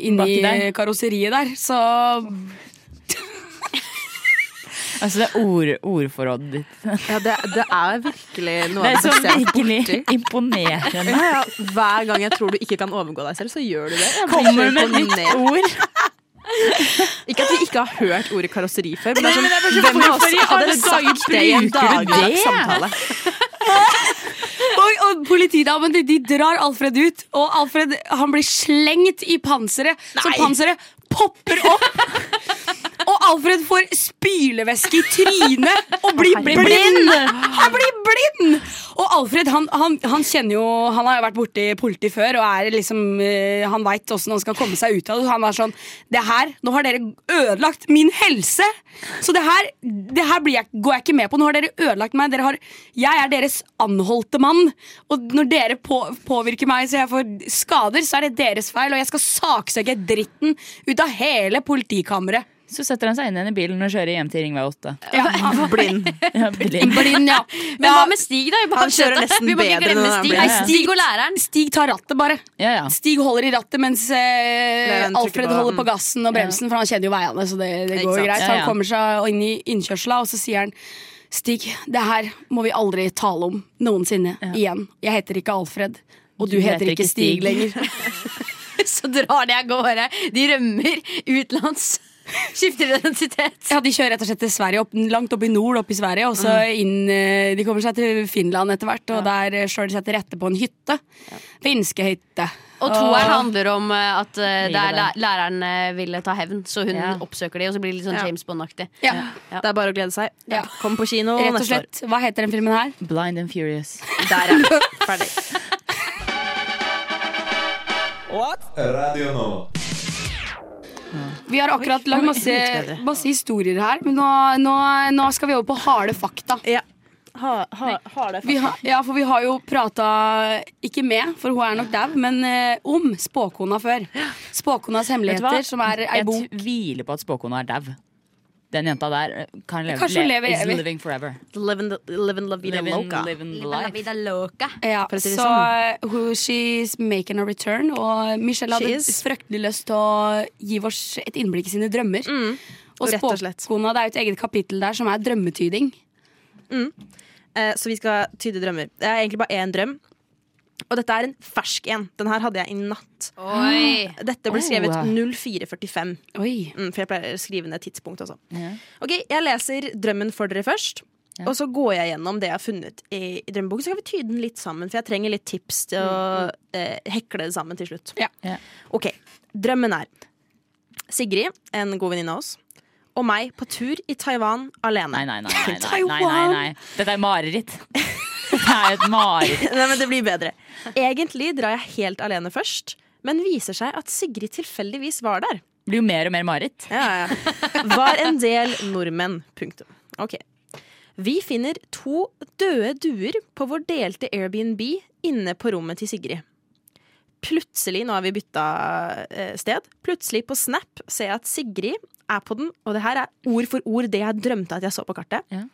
inni
Baki der.
karosseriet der. Så
Altså, det er ord, ordforrådet ditt.
Ja, det, det er virkelig noe
Det er
av det
så
beste jeg har vært
virkelig
borti.
imponerende.
Ja, ja. Hver gang jeg tror du ikke kan overgå deg selv, så gjør du det. Jeg blir
Kommer med
så
et nytt
imponert.
ord.
Ikke at vi ikke har hørt ordet karosseri før, men, det
Nei,
er
men det er bare
sånn,
så
hvem av
hvorfor
oss
i alle
hadde
dager
sagt det i en
bruker du det?
dagligdags samtale?
og, og politidamene de drar Alfred ut, og Alfred han blir slengt i panseret. Så panseret popper opp. og Alfred får spylevæske i trynet og blir
Blir
blind.
blind.
Han blir blind! Og Alfred han, han, han kjenner jo Han har jo vært borti politi før, og er liksom, eh, han veit åssen han skal komme seg ut av det. Han er sånn Det her, nå har dere ødelagt min helse! Så det her, det her blir jeg, går jeg ikke med på. Nå har dere ødelagt meg. Dere har, jeg er deres anholdte mann. Og når dere på, påvirker meg så jeg får skader, så er det deres feil. Og jeg skal saksøke dritten ut av hele politikammeret.
Så setter han seg inn igjen i bilen og kjører hjem til Ringvei 8.
Ja,
Blind.
Ja, blind.
blind, [laughs] ja.
Men hva med Stig, da? i
kjører
baksetet?
nesten
Vi må ikke
bedre
glemme
når han
Stig.
blir-
Nei,
Ja, ja.
Stig og læreren. [laughs]
Stig tar rattet, bare.
Ja, ja.
Stig holder i rattet mens eh,
han trykker
Alfred
på.
holder på gassen og bremsen, for han kjenner jo veiene. Så det, det
Ikke
går jo
sant?
greit
Ja,
Så Han
ja.
kommer seg inn i innkjørsla, og så sier han Stig, det her må vi aldri tale om noensinne igjen. Jeg heter ikke Alfred, og du, heter, ikke Stig, lenger.
Så drar de av gårde. De rømmer utenlands. [laughs] Skifter identitet.
Ja, De kjører rett og slett til Sverige, opp, langt opp i nord, opp i Sverige, og så inn eh, De kommer seg til Finland etter hvert, og der eh, slår de seg til rette på en hytte. Finske hytte.
Og toeren handler om eh, at eh, det
Livet
er læ- læreren eh, ville ta hevn, så hun oppsøker de, og så blir det litt sånn
Ja.
James Bond-aktig.
Ja,
Det er bare å glede seg.
Ja.
Kom på kino
Rett og
neste år.
slett. Hva heter den filmen her?
Blind and furious.
Der er det. Ferdig.
Radio nå.
Vi har akkurat lagd masse, masse historier her, men nå, nå, nå skal vi over på harde fakta.
Ja. Ha, ha, har det
Vi har, ja, for vi har jo prata ikke med, for hun er nok dau, men eh, om spåkona før. Spåkonas
Vet du hva?
hemmeligheter, som er ei
Jeg
bok.
tviler på at spåkona er dau. Den jenta der eh, kan leve,
Kanskje
le-
hun lever
is
evig.
living forever.
Live in the- live in la vida loca.
living the
La
life.
vida loca.
Ja,
for å si det
så eh, hun, she's making a return, og Michelle
She
hadde
is.
fryktelig lyst til å gi oss et innblikk i sine drømmer. Og
Rett og slett.
spåkona, det er jo et eget kapittel der som er drømmetyding.
Eh, Så vi skal tyde drømmer. Det er egentlig bare én drøm. Og dette er en fersk en. Den her hadde jeg i natt.
Oi.
Dette ble skrevet
Oh.
0445.
Oi.
Mm, for jeg pleier å skrive ned tidspunkt også.
Ja.
Ok, jeg leser drømmen for dere først.
Ja.
Og så går jeg gjennom det jeg har funnet i, i drømmeboken. Så kan vi tyde den litt sammen, for jeg trenger litt tips til å eh, hekle det sammen til slutt.
Ja.
Mm, Ja.
Ok, drømmen er Sigrid, en god venninne av oss, og meg på tur i Taiwan alene.
Nei, nei, nei. nei, nei, nei, nei,
Taiwan.
nei. Dette er mareritt. Dette er et mareritt.
[laughs] Nei, men det blir bedre. Egentlig drar jeg helt alene først, men viser seg at Sigrid tilfeldigvis var der.
Det Blir jo mer og mer mareritt.
[laughs] Ja, ja. Var en del nordmenn. Punktum. Ok. Vi finner to døde duer på vår delte Airbnb inne på rommet til Sigrid. Plutselig, nå har vi bytta eh, sted, plutselig på Snap ser jeg at Sigrid er på den, og det her er ord for ord det jeg drømte at jeg så på kartet,
Ja.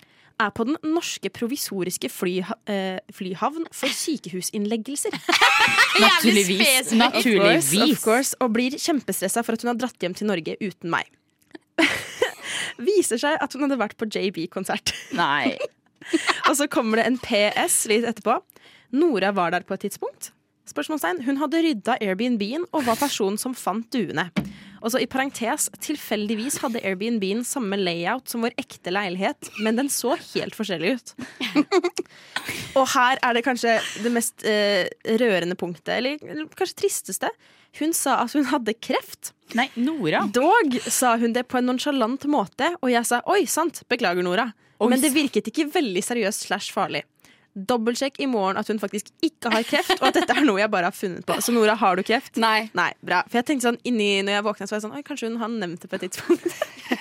er på den norske provisoriske flyha eh, flyhavn for sykehusinnleggelser.
Naturligvis.
Of course,
Naturligvis.
of course, og blir kjempestressa for at hun har dratt hjem til Norge uten meg. [laughs] Viser seg at hun hadde vært på JB-konsert.
Nei.
Og så kommer det en PS litt etterpå. Nora var der på et tidspunkt. Spørsmålstegn. Hun hadde rydda Airbnb-en og var personen som fant duene. Og så i parentes, tilfeldigvis hadde Airbnb-en samme layout som vår ekte leilighet, men den så helt forskjellig ut. og her er det kanskje det mest eh, rørende punktet, eller, eller kanskje tristeste. Hun sa at hun hadde kreft.
Nei, Nora.
Dog sa hun det på en nonchalant måte, og jeg sa oi, sant, beklager Nora. Men det virket ikke veldig seriøst slash farlig. Dobbeltsjekk i morgen at hun faktisk ikke har kreft, og at dette er noe jeg bare har funnet på. Så Nora, har du kreft?
Nei.
Nei, bra. For jeg tenkte sånn inni når jeg våkna, så var jeg sånn oi, kanskje hun har nevnt det på et tidspunkt. [laughs]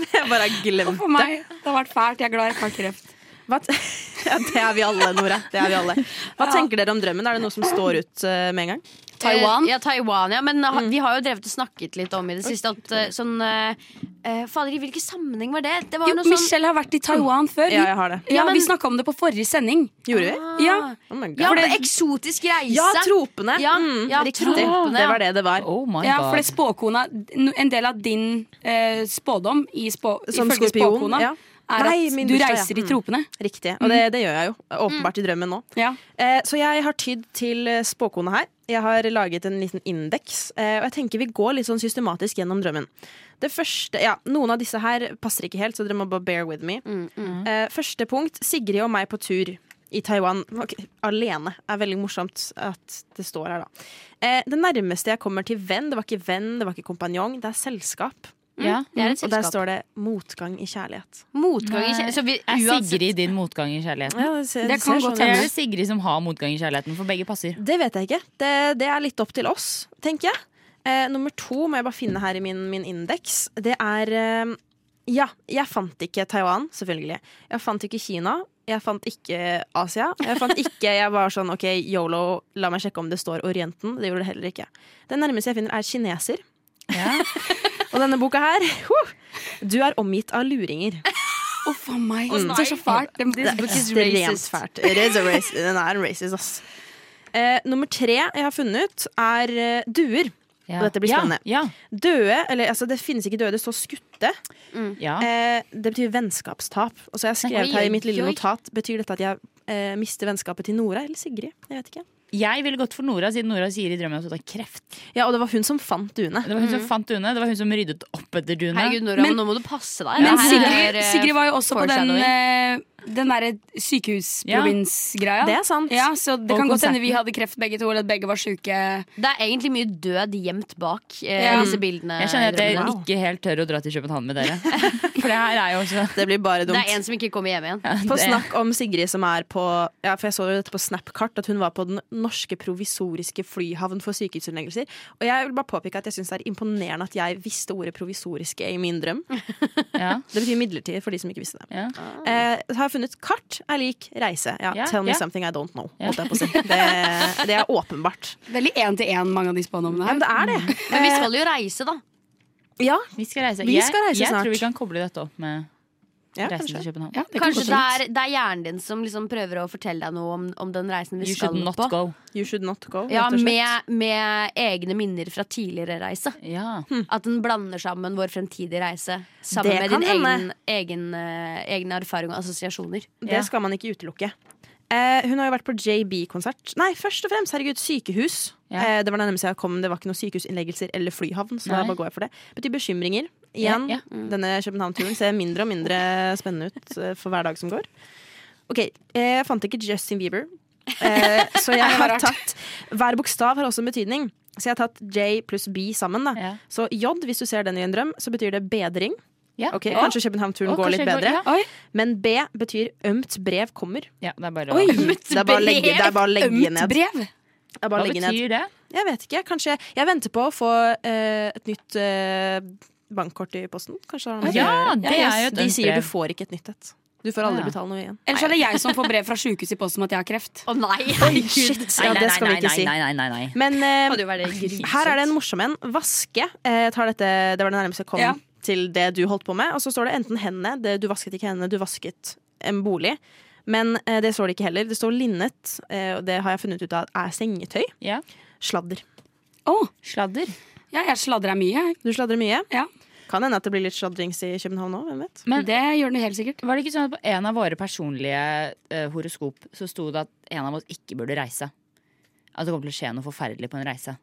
Men jeg bare har glemt.
For meg, det har vært fælt. Jeg er glad jeg ikke har kreft.
Hva t [laughs] ja, det er vi alle, Nora. Det er vi alle. Hva tenker dere om drømmen? Er det noe som står ut eh, med en gang?
Taiwan? Mm.
Eh, Ja, Taiwan, ja. Men ha- vi har jo drevet og snakket litt om i det siste at eh, sånn eh, eh, Fader, i hvilken sammenheng var det? Det
Jo,
var jo noe sånn
Michelle har vært i Taiwan før.
Ja, jeg har det.
Ja,
Ja, men-
Vi snakka om det på forrige sending.
Gjorde vi?
Ja,
Oh my God.
Ah. Ja, det, eksotisk reise.
Ja, tropene.
Ja,
Mm,
ja,
riktig.
tropene,
Det
ja.
var det det var.
Oh my
ja for det
god.
spåkona En del av din eh, spådom i spå,
Som
ifølge
skorpion,
spåkona
ja.
er
Nei,
at
min
du
bursdag, ja.
reiser i
Mm.
tropene.
Riktig. Og det, det gjør jeg jo. Åpenbart i drømmen nå.
Ja.
Eh, Så jeg har tydd til eh, spåkona her. Jeg har laget en liten indeks, eh, og jeg tenker vi går litt sånn systematisk gjennom drømmen. Det første, ja, Noen av disse her passer ikke helt, så dere må bare bear with me. Eh, Første punkt Sigrid og meg på tur i Taiwan. Ok, alene er veldig morsomt at det står her, da. Eh, Det nærmeste jeg kommer til venn, det var ikke venn, det var ikke kompanjong, det er selskap.
Ja.
Det er et
Og der
selskap.
står det 'motgang i kjærlighet'.
Motgang i kjærlighet. Så vi,
Er
uansett,
Sigrid din motgang i kjærligheten?
Ja, det, ser-
Det
det
kan
ser
godt
sånn
Eller
ut.
er det Sigrid som har motgang i kjærligheten? For begge passer.
Det vet jeg ikke. Det, det er litt opp til oss, tenker jeg. Eh, nummer to må jeg bare finne her i min, min indeks. Det er eh, Ja, jeg fant ikke Taiwan, selvfølgelig. Jeg fant ikke Kina. Jeg fant ikke Asia. Jeg fant ikke Jeg var sånn OK, yolo, la meg sjekke om det står Orienten. Det gjorde det heller ikke. Det nærmeste jeg finner, er kineser. Og denne boka her [laughs] huh, Du er omgitt av luringer.
Å, faen meg. det er så fælt. Det, det,
Det er ekstremt fælt. It is a race- [laughs] Den er en racist, ass. Eh, nummer tre jeg har funnet ut, er eh, duer. Og dette blir spennende.
[laughs] Ja,
Døde, eller altså det finnes ikke døde, det står skutte.
ja, ja.
Eh, det betyr vennskapstap. Og så har jeg skrevet
Oi,
her i mitt lille
oi, oi.
notat Betyr dette at jeg eh, mister vennskapet til Nora eller Sigrid? Jeg vet ikke.
Jeg ville gått for Nora, siden Nora sier i drømmen at hun har kreft.
Ja, og det var hun som fant duene.
Det var hun som fant Dune, det var hun som ryddet opp etter Dune.
herregud, Nora,
Men-
nå må du passe deg.
Men
Det her er,
Sigrid,
eh,
Sigrid var jo også på den,
foreshadowing.
eh, den derre sykehusprovins-greia.
Det er sant.
Ja, så det
Og
kan godt
konserten.
hende vi hadde kreft begge to, eller at begge var syke.
Det er egentlig mye død gjemt bak eh,
Ja.
disse bildene.
Jeg kjenner at
i
jeg
drømmen.
ikke helt tør å dra til København med
[laughs]
dere. For det her er jo også
Det blir bare
Det er
dumt.
en som ikke kommer hjem igjen.
På
det-
snakk om Sigrid som er på Ja, for jeg så jo dette på Snapkart, at hun var på den norske provisoriske flyhavn for sykehusinnleggelser. Og jeg vil bare påpeke at jeg syns det er imponerende at jeg visste ordet provisoriske i min drøm.
ja,
Det betyr midlertidig for de som ikke visste det.
ja.
Eh, så har jeg funnet kart er lik reise. Ja,
Ja,
tell me
ja.
something I don't know.
Ja.
holdt jeg på å si. Det, det er åpenbart.
Veldig én-til-én, mange av de spådommene
Ja,
her.
men det er det.
Men vi skal jo reise, da.
Ja,
Vi skal reise,
Vi skal reise
jeg, jeg
snart.
tror vi kan koble dette opp med
ja
reisen til
kanskje.
København.
Ja, det kan
Kanskje
godt
det
være.
er, det er hjernen din som liksom prøver å fortelle deg noe om, om den reisen vi
You
skal
should not
på.
go.
You should not go.
Ja,
rett og slett.
med, med egne minner fra tidligere reise.
Ja.
At den blander sammen vår fremtidige reise sammen
Det
med
kan
din egen,
hende.
egen, eh, egen erfaring og assosiasjoner.
Det skal man ikke utelukke. Eh, hun har jo vært på JB-konsert. Nei, først og fremst, herregud, sykehus.
Ja.
Eh, det var det nærmeste jeg kom. Det var ikke noen sykehusinnleggelser eller flyhavn. Så da
Nei.
bare går jeg for det. Betyr bekymringer. Igjen, Mm.
Ja, ja.
denne København-turen ser mindre og mindre spennende ut eh, for hver dag som går. Ok, eh, jeg fant ikke Justin Bieber.
[laughs]
Eh, så jeg har tatt Hver bokstav har også en betydning. Så jeg har tatt J pluss B sammen. Da.
Ja.
Så J, hvis du ser den i en drøm, så betyr det bedring.
Ja.
Ok,
Å,
Kanskje København-turen
å,
går
kanskje
litt
jeg
bedre.
ja.
Oi,
Men B betyr ømt brev kommer.
Ja, det er bare
[laughs] Oi,
å
Det er bare å legge, det er bare å legge
ømt
ned.
brev.
Det er
Hva
bare å legge ned.
betyr det?
Jeg vet ikke. Kanskje Jeg venter på å få eh, et nytt eh, bankkort i posten. Kanskje det har noe med det å
Ja,
gjøre.
det er jo et
De
ømt
sier du
brev.
får ikke et nytt et. Du får aldri
Ja.
betale noe igjen.
Ellers er det jeg som får brev fra sjukehuset i posten om at jeg har kreft.
Å nei, herregud!
Shit, ja, det skal vi ikke si.
Nei, nei, nei, nei.
Men eh,
Hadde jo vært grusomt.
her er det en morsom en. Vaske. Eh, jeg tar dette, det var det nærmeste jeg kom
Ja.
til det du holdt på med. Og så står det enten hendene, det, du vasket ikke hendene, du vasket en bolig. Men eh, det står det ikke heller. Det står linnet, eh, og det har jeg funnet ut av er sengetøy.
Ja.
Sladder.
Å,
Sladder.
ja, jeg sladrer mye, jeg.
Du sladrer mye.
Ja.
Kan hende at det blir litt sladrings i København òg, hvem vet.
Men-
det gjør den helt sikkert.
Var det ikke sånn at på en av våre personlige eh, horoskop så sto det at en av oss ikke burde reise? At det kommer til å skje noe forferdelig på en reise.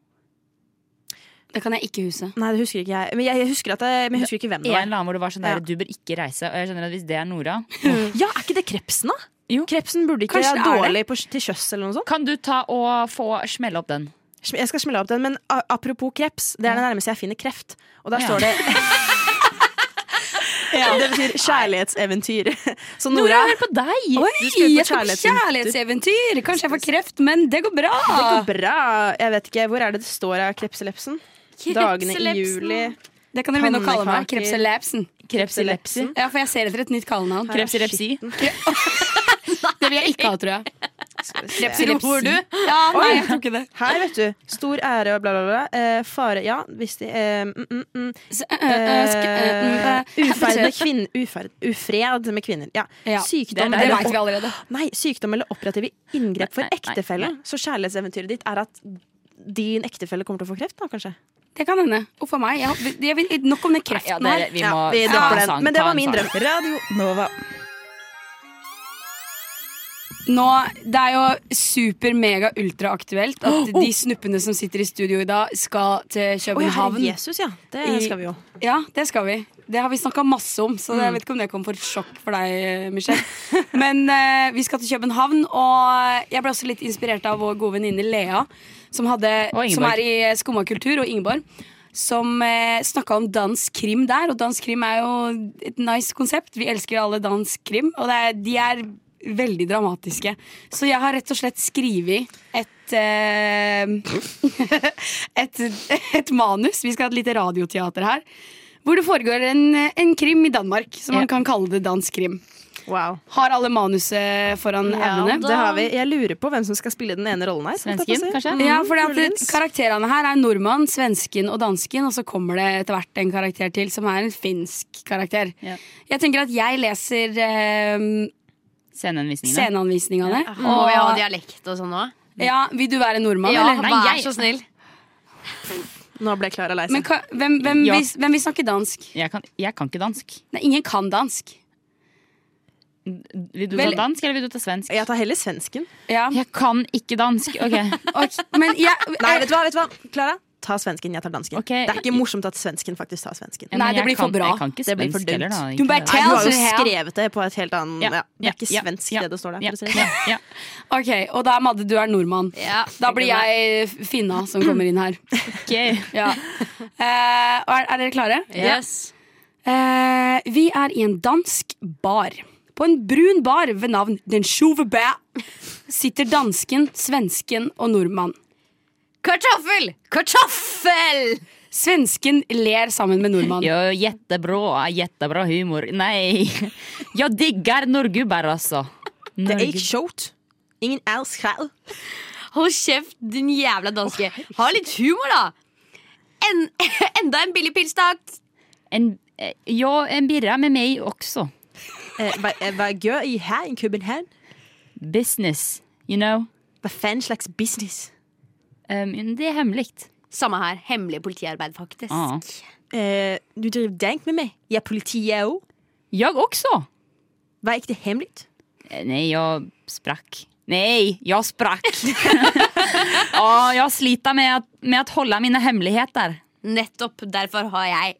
Det kan jeg ikke huske.
Nei, det husker ikke jeg. Men jeg, jeg husker, at jeg, men jeg husker ikke hvem
En
det
eller
var.
annen hvor det var sånn der,
Ja.
du bør ikke reise. Og jeg skjønner at hvis det er Nora
Ja, er ikke det krepsen, da?
Jo.
Krepsen burde ikke
Kanskje det
være
er
dårlig på, til sjøs eller noe sånt.
Kan du ta og få smelle opp den?
Sm- Jeg skal smelle opp den, men a- apropos kreps, det er det nærmeste jeg finner kreft. Og der
Ja.
står det
[laughs]
[laughs] Det betyr kjærlighetseventyr. [laughs] Så Nora,
Nora, hør på deg!
Oi,
skal på
jeg skal på kjærlighetseventyr! Kanskje jeg får kreft, men det går bra.
det går bra. Jeg vet ikke, Hvor er det det står av krepselepsen? Dagene i
Krepselepsen.
juli.
Det kan dere begynne å kalle meg.
Pannekaker.
Krepselepsen.
Krepselepsi.
Ja, for jeg ser etter et nytt kallenavn.
Krepselepsi.
Det vil jeg ikke ha, tror jeg.
Krepselepsi. Tror du?
Ja, nei, jeg tror ikke det.
Her, vet du. Stor ære og bla, bla, bla. Eh, fare Ja, visst de eh, mm, mm, mm. Eh,
S- øh, øh, sk- øh, mm, øh,
[laughs] Uferd med kvinner Uferd. Ufred med kvinner. Ja.
Ja,
Sykdom
Det
eller
vet vi allerede.
Nei, sykdom eller operative inngrep for
Nei, nei, nei,
ektefellen. Så kjærlighetseventyret ditt er at din ektefelle kommer til å få kreft, da, kanskje?
Det kan hende. Uff a meg. Jeg, håper- jeg, vil- nok om den kreften
Nei, ja,
her.
dere- Vi
Ja,
må
vi
ta
dropper
en
den.
sang,
Men det
ta
var
en
min
sang.
drøm.
Radio Nova.
Nå, Det er jo super-mega-ultraaktuelt
[gasps]
at de snuppene som sitter i studio i dag, skal til
Oh! Å ja, herre
København.
Jesus, ja. Det
I-
skal vi jo. Mm.
Ja, det skal vi. Det har vi snakka masse om, så jeg vet ikke om det kom for et sjokk for deg, Michelle. [laughs] Men eh, vi skal til København, og jeg ble også litt inspirert av vår gode venninne Lea, som, hadde,
Og Ingeborg.
som er i Skumma kultur, og Ingeborg. Som eh, snakka om dansk krim der, og dansk krim er jo et nice konsept. Vi elsker alle dansk krim, og det er, de er veldig dramatiske. Så jeg har rett og slett skrevet et eh, [laughs] et, et manus. Vi skal ha et lite radioteater her. Hvor det foregår en, en krim i Danmark, som man kan kalle det dansk krim.
Wow.
Har alle manuset foran evnene?
Det har vi. Jeg lurer på hvem som skal spille den ene rollen her. holdt jeg på å
Svensken,
si.
kanskje?
Ja, for
Mm, muligens.
Karakterene her er nordmann, svensken og dansken, og så kommer det etter hvert en karakter til som er en finsk karakter.
Ja.
Jeg tenker at jeg leser eh,
Sceneanvisningene.
sceneanvisningene.
Må vi ha dialekt og sånn òg?
ja, vil du være nordmann,
Ja,
eller?
vær
jeg-
så snill.
Nå ble Klara lei
Men
seg.
ka, hvem, hvem,
Ja.
vil, hvem vil snakke dansk?
Jeg kan, jeg kan ikke dansk.
Nei, ingen kan dansk.
Vil du ta
Vel-
dansk, eller vil du ta svensk?
Jeg tar heller svensken.
Ja.
Jeg kan ikke dansk.
[laughs]
Ok,
ok, men jeg,
Nei, vet du hva? vet du hva? Klara, ta svensken. Jeg tar dansken.
Eh, Ok.
Det er ikke morsomt at svensken faktisk tar svensken.
Ja,
Nei,
men
det
jeg
blir for
kan-
bra.
Jeg kan ikke
Det blir for
svensk heller,
dumt.
da.
Du bare
Nei, du har jo
Altså, her-
skrevet det på et helt annet
Ja,
ja. Det
ja,
er ikke
ja,
svensk,
ja,
det det står der.
ja,
for å si det
ja,
sånn.
ja.
Ok, og da er Madde, du er nordmann.
Ja,
Da blir jeg Finna som kommer inn her.
Ok.
Ja. Eh, og er, er dere klare?
Yes.
Eh, vi er i en dansk bar. På en brun bar ved navn Den Sjuve Bæ sitter dansken, svensken og nordmann.
Kartoffel! Kartoffel!
Svensken ler sammen med nordmann.
Jo, jättebra, jättebra humor. [laughs] Nei, jeg digger norgubber, altså.
Det er ikke sjovt. Ingen elsker.
Hold kjeft, din jævla danske. Ha litt humor, da! En, [laughs] enda en billig pils, takk!
En, eh, ja, en birra med meg også.
Eh, hva- eh, Hva gjør I her i København?
Business, you know.
Hva faen slags business?
Um, det er hemmelig.
Samme her. Hemmelig politiarbeid, faktisk.
Ah.
Eh, du driver dank med meg. Jeg er politi, jeg òg.
Jeg også.
Hva er ikke det hemmelig?
Eh, Nei, jeg sprakk. Nei, jeg sprakk. [laughs] ja, jeg sliter med, at, med å holde mine hemmeligheter.
Nettopp derfor har jeg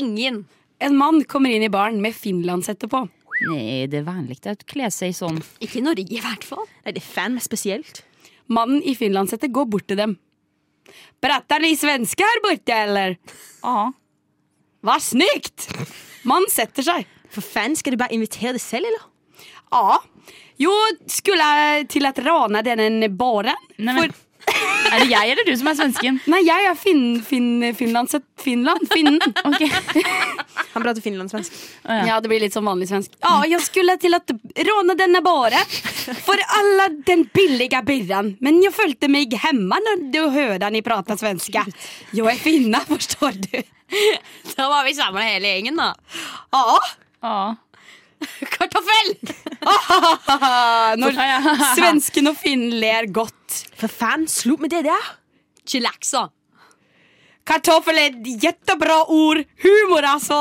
ingen.
En mann kommer inn i baren med finlandshette på.
Nei, det er vanlig å kle seg sånn.
Ikke i Norge, i hvert fall.
Nei, det er faen meg spesielt.
Mannen i finlandshette går bort til dem. Prater ni svenske her borte, eller?
Ja.
Hva snykt! Mannen setter seg.
For faen, skal du bare invitere deg selv, eller?
Ja. Jo, skulle jeg til å rane denne baren?
Nei, men, er det jeg eller du som er svensken?
Nei, jeg er fin, fin, finlandset Finland. Finnen.
Ok.
Han prater finlandssvensk.
Ja.
Ja, det blir litt sånn vanlig svensk. Ja, jeg skulle til å rane denne baren for alle den billige birren, men jeg følte meg hjemme når du hørte ni prate svenska. Jeg er finne, forstår du.
Da var vi samla hele gjengen, da.
Ja.
Ja.
Kartoffel! Ah, Når svensken og finnen ler godt.
For faen, slutt med det der!
Chilaxa.
Kartoffel er et jettebra ord. Humor, altså.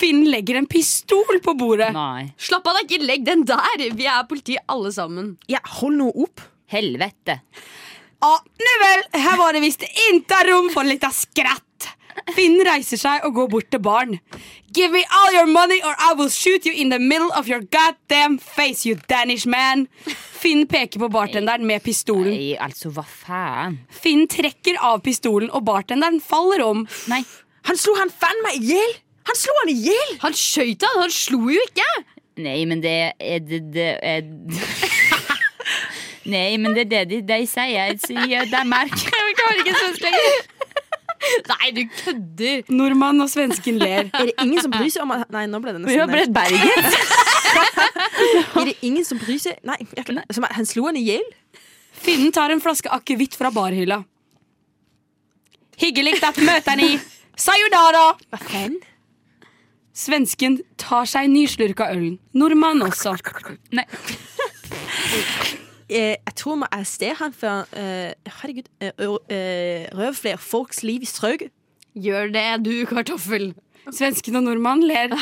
Finnen legger en pistol på bordet.
Nei.
Slapp av, da, ikke legg den der! Vi er politi alle sammen.
Ja, hold nå opp.
Helvete.
Ah, nu vel, her var det visst ikke rom for litt av skratt. Finnen reiser seg og går bort til barn. Give me all your money or I will shoot you in the middle of your goddamn face, you Danish man. Finn peker på bartenderen med pistolen.
Nei, altså, hva faen?
Finn trekker av pistolen, og bartenderen faller om.
Nei.
Han slo han faen meg i hjel! Han slo han i hjel!
Han skøyt han, han slo jo ikke!
Nei, men det er det, det er [laughs] Nei, men det er det de, de sier i Danmark.
[laughs]
Jeg klarer ikke svensk lenger.
[laughs] Nei, du kødder!
Nordmann og svensken ler.
Er det ingen som bryr seg om han Nei, nå ble det
Vi har
nesten
blitt Bergen.
Er det ingen som bryr seg Nei, jeg, som, han slo han i hjel?
Finnen tar en flaske akevitt fra barhylla. Hyggelig at møter ni. Sayonara!
Hva faen?
Svensken tar seg en ny slurk av ølen. Nordmann også.
Nei.
Eh, jeg tror vi arresterer han for eh, Herregud. Eh, å- eh, røv flere folks liv i strøk.
Gjør det, du, kartoffel.
Svensken og nordmann ler.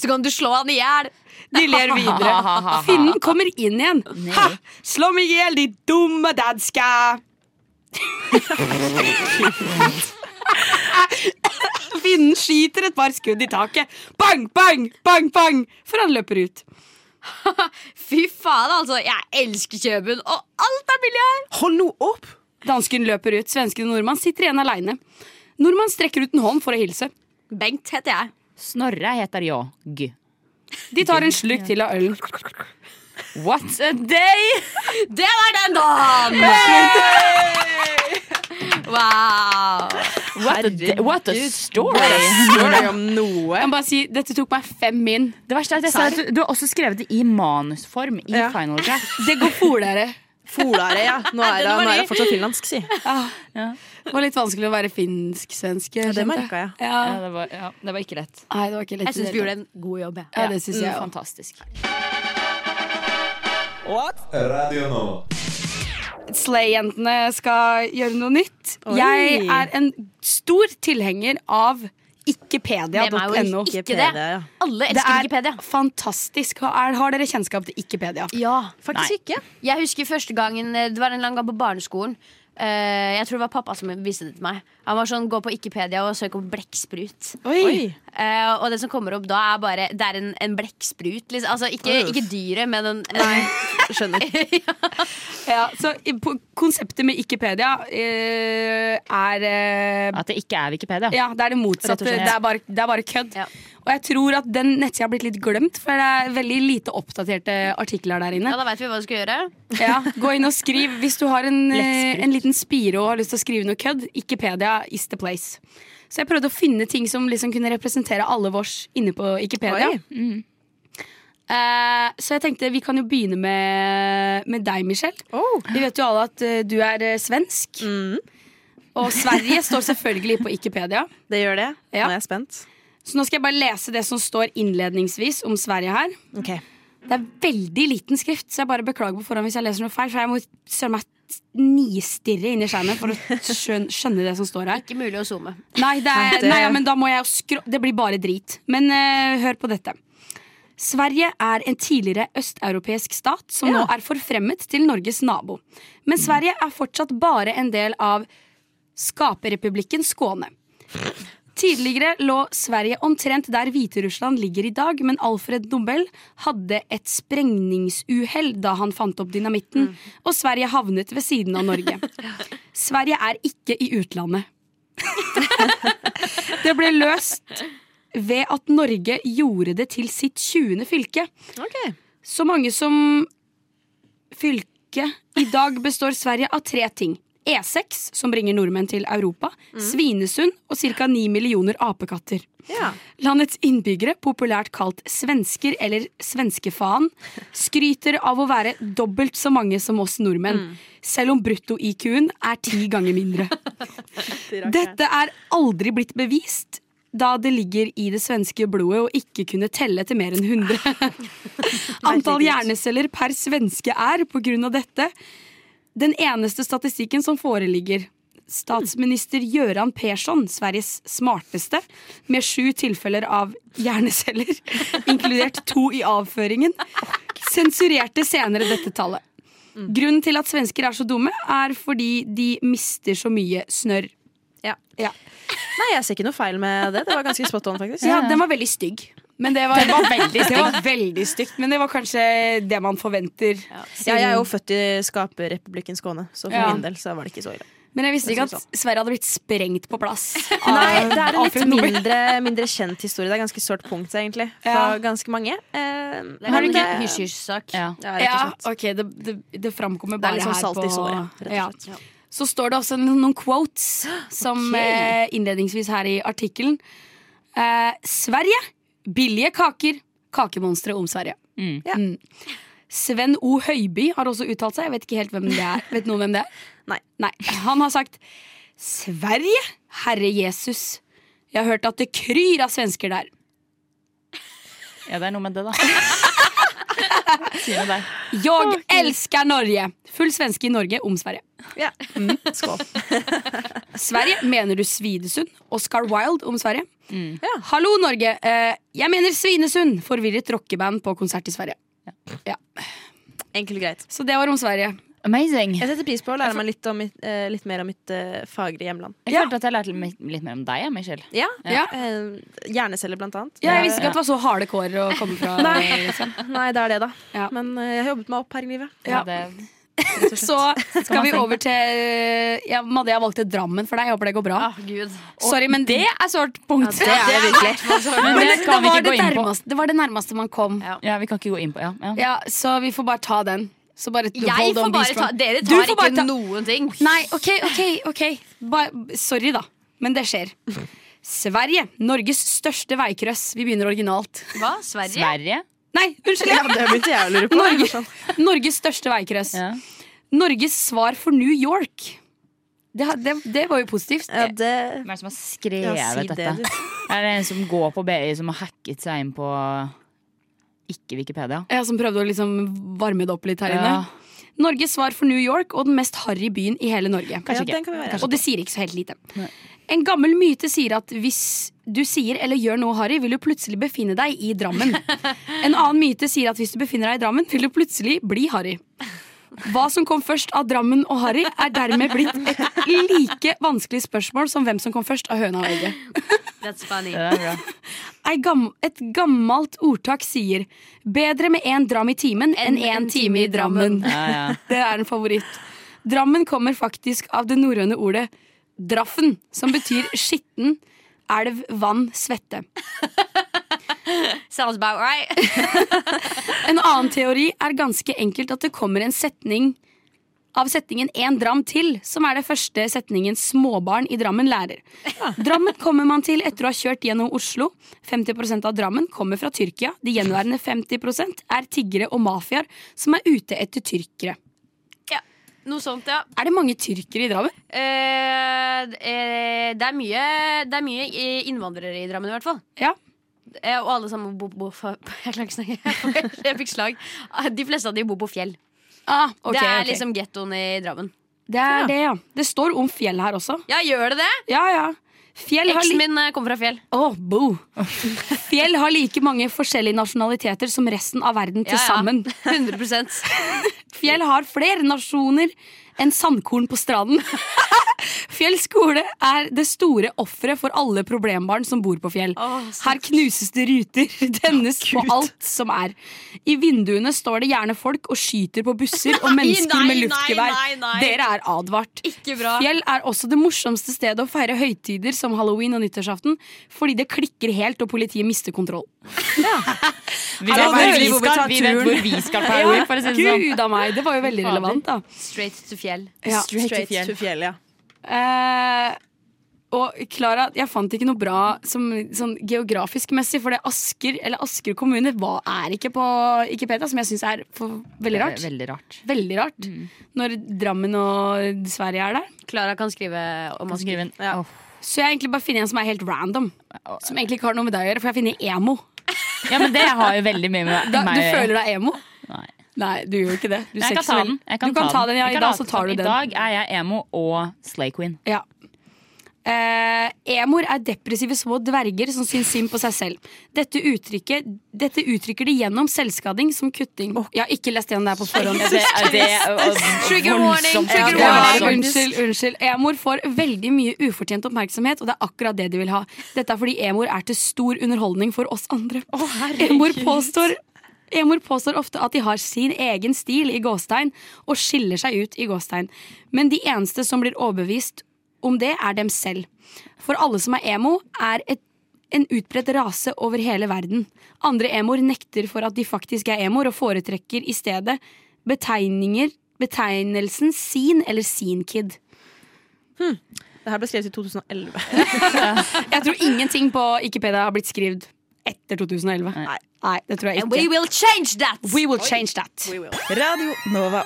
Så kan du slå han i hjel.
De ler
[laughs]
videre. Finnen kommer inn igjen. Ha! Slå meg i hjel, de dumme danska! Finnen skyter et par skudd i taket. Bang, bang, bang, bang! For han løper ut.
Fy faen, altså. Jeg elsker Kjøben, og alt er billig her!
Hold nå opp!
Dansken løper ut. Svensken og nordmann sitter igjen aleine. Nordmann strekker ut en hånd for å hilse.
Bengt heter jeg.
Snorre heter jag.
De tar en slurk til av ølen.
What a day!
Det var den dagen! Wow.
What a, day. What a story!
Story om noe.
Jeg må bare si, Dette tok meg fem min.
Det verste er at jeg sa at du, du har også skrevet det i manusform i
Ja.
Final Draft.
[laughs] Det går folere.
Folare, ja. Nå er, det,
var
nå er
ny.
det fortsatt finlandsk, si.
Det var litt vanskelig å være finsk-svensk.
Ja, det merket jeg.
Ja.
Ja, det, var, ja, det var ikke lett.
Nei, det var ikke lett.
Jeg syns vi gjorde en god jobb. jeg.
Ja, det synes jeg
Mm,
også.
Fantastisk.
Radio nå.
Slay-jentene skal gjøre noe nytt. Jeg er en stor tilhenger av
Hvem er
ikkepedia.no.
jo ikke det?
Wikipedia, ja.
Alle
Det
elsker
er
Wikipedia.
fantastisk. Har- er- Har dere kjennskap til Ikkepedia?
Ja.
Faktisk ikke.
Jeg husker første gangen eh, Det var en eller annen gang på barneskolen. Eh, jeg tror det var pappa som viste det til meg. Han var sånn, Gå på Wikipedia og søk på blekksprut.
Oi.
Eh, og det som kommer opp da, er bare Det er en, en blekksprut. Liksom. Altså, ikke,
Uff.
ikke dyret, men en,
Skjønner.
Ja, så i- på- Konseptet med Ikkepedia eh, er eh,
At det ikke er Wikipedia.
ja, det er det
Rett og
motsatte.
slett.
Det er bare, det er bare kødd.
Ja.
Og jeg tror at den nettsida har blitt litt glemt, for det er veldig lite oppdaterte artikler der inne.
[laughs] Ja, da veit vi hva du skal gjøre.
Ja, Gå inn og skriv hvis du har en, eh, en liten spire og har lyst til å skrive noe kødd. Ikkepedia is the place. Så jeg prøvde å finne ting som liksom kunne representere alle vårs inne på Ikkepedia.
Oi.
Eh, så jeg tenkte vi kan jo begynne med, med deg, Michelle.
Oh.
Vi vet jo alle at eh, du er eh, svensk. Og Sverige står selvfølgelig på Ikkepedia.
Det gjør det.
Ja.
Nå er jeg spent.
Så nå skal jeg bare lese det som står innledningsvis om Sverige her.
Ok.
Det er veldig liten skrift, så jeg bare beklager på forhånd hvis jeg leser noe feil. For jeg må søren meg nistirre inn i skjermen for å skjøn- skjønne det som står her.
Ikke mulig å zoome.
Nei, det
Nei,
er,
det-
nei ja, men da må jeg jo skrå... Det blir bare drit. Men eh, hør på dette. Sverige er en tidligere østeuropeisk stat som nå er forfremmet til Norges nabo. Men Sverige er fortsatt bare en del av skaperrepublikken Skåne. Tidligere lå Sverige omtrent der Hviterussland ligger i dag, men Alfred Nobel hadde et sprengningsuhell da han fant opp dynamitten, og Sverige havnet ved siden av Norge. Sverige er ikke i utlandet. [laughs] Det ble løst ved at Norge gjorde det til sitt 20. fylke. Så mange som fylke i dag består Sverige av tre ting. E6, som bringer nordmenn til Europa, Svinesund og ca. 9 millioner apekatter.
Ja.
Landets innbyggere, populært kalt svensker eller svenskefaen, skryter av å være dobbelt så mange som oss nordmenn, selv om brutto-IQ-en er ti ganger mindre. Dette er aldri blitt bevist, da det ligger i det svenske blodet å ikke kunne telle til mer enn 100. Antall hjerneceller per svenske er, på grunn av dette, den eneste statistikken som foreligger. Statsminister Göran Persson, Sveriges smarteste, med sju tilfeller av hjerneceller, inkludert to i avføringen, sensurerte senere dette tallet. Grunnen til at svensker er så dumme, er fordi de mister så mye snørr.
Ja.
Ja.
Nei, jeg ser ikke noe feil med det. Det var ganske spot on, faktisk.
Ja, den var veldig stygg. Men det var, det var [laughs] veldig stygt. men det var kanskje det man forventer.
Ja, jeg er jo født i skaperrepublikken Skåne, så for
Ja.
min del så var det ikke så ille.
Men jeg visste ikke at Sverige hadde blitt sprengt på plass.
sånn? Nei, det er en litt
Alfred Nobel.
mindre, mindre kjent historie. Det er ganske sårt punkt, egentlig, for
Ja.
ganske mange. Eh,
Det er
men
en
det-
hysj-hysj-sak.
Ja.
Ja, rett og
Ja,
slett.
ok, det, det, det framkommer
Det er
bare
litt sånn
her
salt
på
i såret, rett og slett.
Ja. Så står det også no- noen quotes som eh, innledningsvis her i artikkelen. Eh, Sverige billige kaker. Kakemonstre om Sverige.
Mm.
Ja.
Mm. Sven O. Høiby har også uttalt seg. Jeg vet ikke helt hvem det er. Vet noen hvem det er?
[laughs] Nei.
Han har sagt Sverige, herre Jesus. Jeg har hørt at det kryr av svensker der.
Ja, det er noe med det, da. [laughs] Si noe der.
Jeg elsker Norge! Full svenske i Norge om Sverige.
Ja. [laughs] Skål.
Sverige, mener du Svidesund? Oscar Wilde om Sverige?
Mm.
Ja. Hallo, Norge! Eh, jeg mener Svinesund! Forvirret rockeband på konsert i Sverige.
Enkelt og greit.
Så det var om Sverige.
Amazing.
Jeg setter pris på å lære meg litt, om, mitt, eh, litt mer om mitt eh, fagre hjemland.
Jeg følte at jeg lærte litt litt mer om deg, jeg, Michelle.
Ja.
Ja.
Eh, hjerneceller, blant annet.
Ja, jeg visste ikke at det var så harde kår å komme fra. liksom.
[laughs] Nei, det er det, da.
Ja.
Men eh, jeg har jobbet meg opp her i livet.
Ja.
Det,
Så skal vi over til ja, Madde, jeg valgte Drammen for deg. Jeg håper det går bra.
Ah, Gud.
Sorry, men det er sårt punkt.
det er det
men
Men
det
det,
skal vi
var
ikke
det,
gå inn på.
nærmeste, det var det nærmeste man kom.
Ja.
Ja, vi kan ikke gå inn på ja, ja.
Ja, Så vi får bare ta den. Så bare
Jeg
hold on,
får
be
bare ta
strong.
Dere
Du
tar
får bare
ikke
ta-
noen ting.
Nei, ok, ok, ok ba Sorry da, men det skjer Sverige, Norges største veikryss Vi begynner originalt
Hva? Sverige?
Sverige.
Nei, unnskyld
[laughs] Ja, det begynte jeg å lure på. Sånn.
Norge, Norges største veikryss
Ja.
Norges svar for New York det, har- det, det var jo positivt
Ja, det
Hvem er det som har
ja, si
skrevet
det,
dette?
du.
Er det en som går på BI som har hacket seg inn på ikke Wikipedia?
Jeg som prøvde å liksom varme det opp litt her inne
Ja.
Norges svar for New York og den mest harry byen i hele Norge
Ja,
Kanskje ikke.
den kan vi være.
Og det sier ikke så helt lite.
Nei.
En gammel myte sier at hvis du sier eller gjør noe harry, vil du plutselig befinne deg i [laughs] Drammen. En annen myte sier at hvis du befinner deg i Drammen, vil du plutselig bli harry. Hva som kom først av Drammen og harry, er dermed blitt et like vanskelig spørsmål som hvem som kom først av høna og egget.
That's funny.
Ja, det er bra.
Ei gam et gammelt ordtak sier 'bedre med én dram i timen enn én time i Drammen'.
Ja, ja.
Det er en favoritt. Drammen kommer faktisk av det norrøne ordet draffen, som betyr skitten, elv, vann, svette.
Sounds about right. [laughs]
En annen teori er ganske enkelt at det kommer en setning av setningen 'en dram til', som er det første setningen småbarn i Drammen lærer. Drammen kommer man til etter å ha kjørt gjennom Oslo. 50 av Drammen kommer fra Tyrkia. De gjenværende 50 er tiggere og mafiaer som er ute etter tyrkere.
Noe sånt, ja.
Er det mange tyrkere i Drammen?
Eh, eh, det, er mye, det er mye eh, innvandrere i Drammen, i hvert fall.
Ja.
Eh, og alle sammen bor på [laughs] fa- Jeg klarer ikke å snakke. [laughs] Jeg fikk slag. Ah, De fleste av de bor på fjell.
Ah, ok,
det er
ok.
liksom gettoen i Drammen.
Det er det, ja. Det står om fjell her også.
Ja, gjør det det?
Ja, ja. Fjell har,
Eksen
li
min eh, kommer fra fjell.
Åh,
[laughs]
boo. fjell har like mange forskjellige nasjonaliteter som resten av verden til
Ja, ja. [laughs]
sammen.
100
Fjell har flere nasjoner enn sandkorn på stranden. [laughs] Fjell skole er det store offeret for alle problembarn som bor på Fjell.
Åh, så-
Her knuses det ruter, [laughs] tennes på alt som er. I vinduene står det gjerne folk og skyter på busser og mennesker
nei,
med
nei,
luftgevær.
nei, nei.
Dere er advart.
Ikke bra.
Fjell er også det morsomste stedet å feire høytider som halloween og nyttårsaften, fordi det klikker helt og politiet mister kontroll. [laughs]
Vi vet hvor
veldig
vi
hvor vi
skal,
tar
vi vet
turen.
hvor vi skal på Halloween, for å si det sånn.
Gud a meg, det var jo veldig relevant, da.
Straight to fjell.
Ja.
Straight to fjell, ja.
Eh, Og Klara, jeg fant ikke noe bra som, sånn geografisk messig, for det Asker eller Asker kommune hva er ikke på Wikipedia, som jeg syns er for, veldig rart.
Veldig Mm. rart.
Veldig rart. Når Drammen og Sverige er der.
Klara kan skrive om
Kan
oss.
skrive en
Ja.
Åh.
Så jeg har egentlig bare funnet en som er helt random. Som egentlig ikke har noe med deg å gjøre, for jeg finner emo.
ja, men det har jo veldig mye med
Da,
meg
du
å gjøre.
føler deg emo?
Nei.
Nei, du gjør ikke det. Du
Jeg
ser
kan
ikke
ta
så veldig-
den. Jeg kan
du kan ta den, ja.
Jeg
I
kan
dag
late som.
så tar du
I
den.
dag er jeg emo og Slay Queen.
Ja. Eh, emoer er depressive små dverger som syns synd på seg selv. Dette, uttrykket, dette uttrykker de gjennom selvskading som kutting. Jeg har ikke lest gjennom det her på forhånd.
Ja, det, er- det, er- og- og-
Trigger warning,
voldsomt.
trigger
Ja, det
Ja,
var
det var-
sånn.
unnskyld, unnskyld. Emoer får veldig mye ufortjent oppmerksomhet, og det er akkurat det de vil ha. Dette er fordi emoer er til stor underholdning for oss andre. emoer påstår Emoer påstår ofte at de har sin egen stil i gåstein, og skiller seg ut i gåstein. Men de eneste som blir overbevist om det, er dem selv. For alle som er emo, er et, en utbredt rase over hele verden. Andre emoer nekter for at de faktisk er emoer, og foretrekker i stedet betegninger, betegnelsen sin eller sin kid.
Det her ble skrevet i 2011.
Jeg tror ingenting på Wikipedia har blitt skrevet etter 2011. Nei, det tror jeg
And we
ikke.
will change that!
We will change that.
Radio Nova.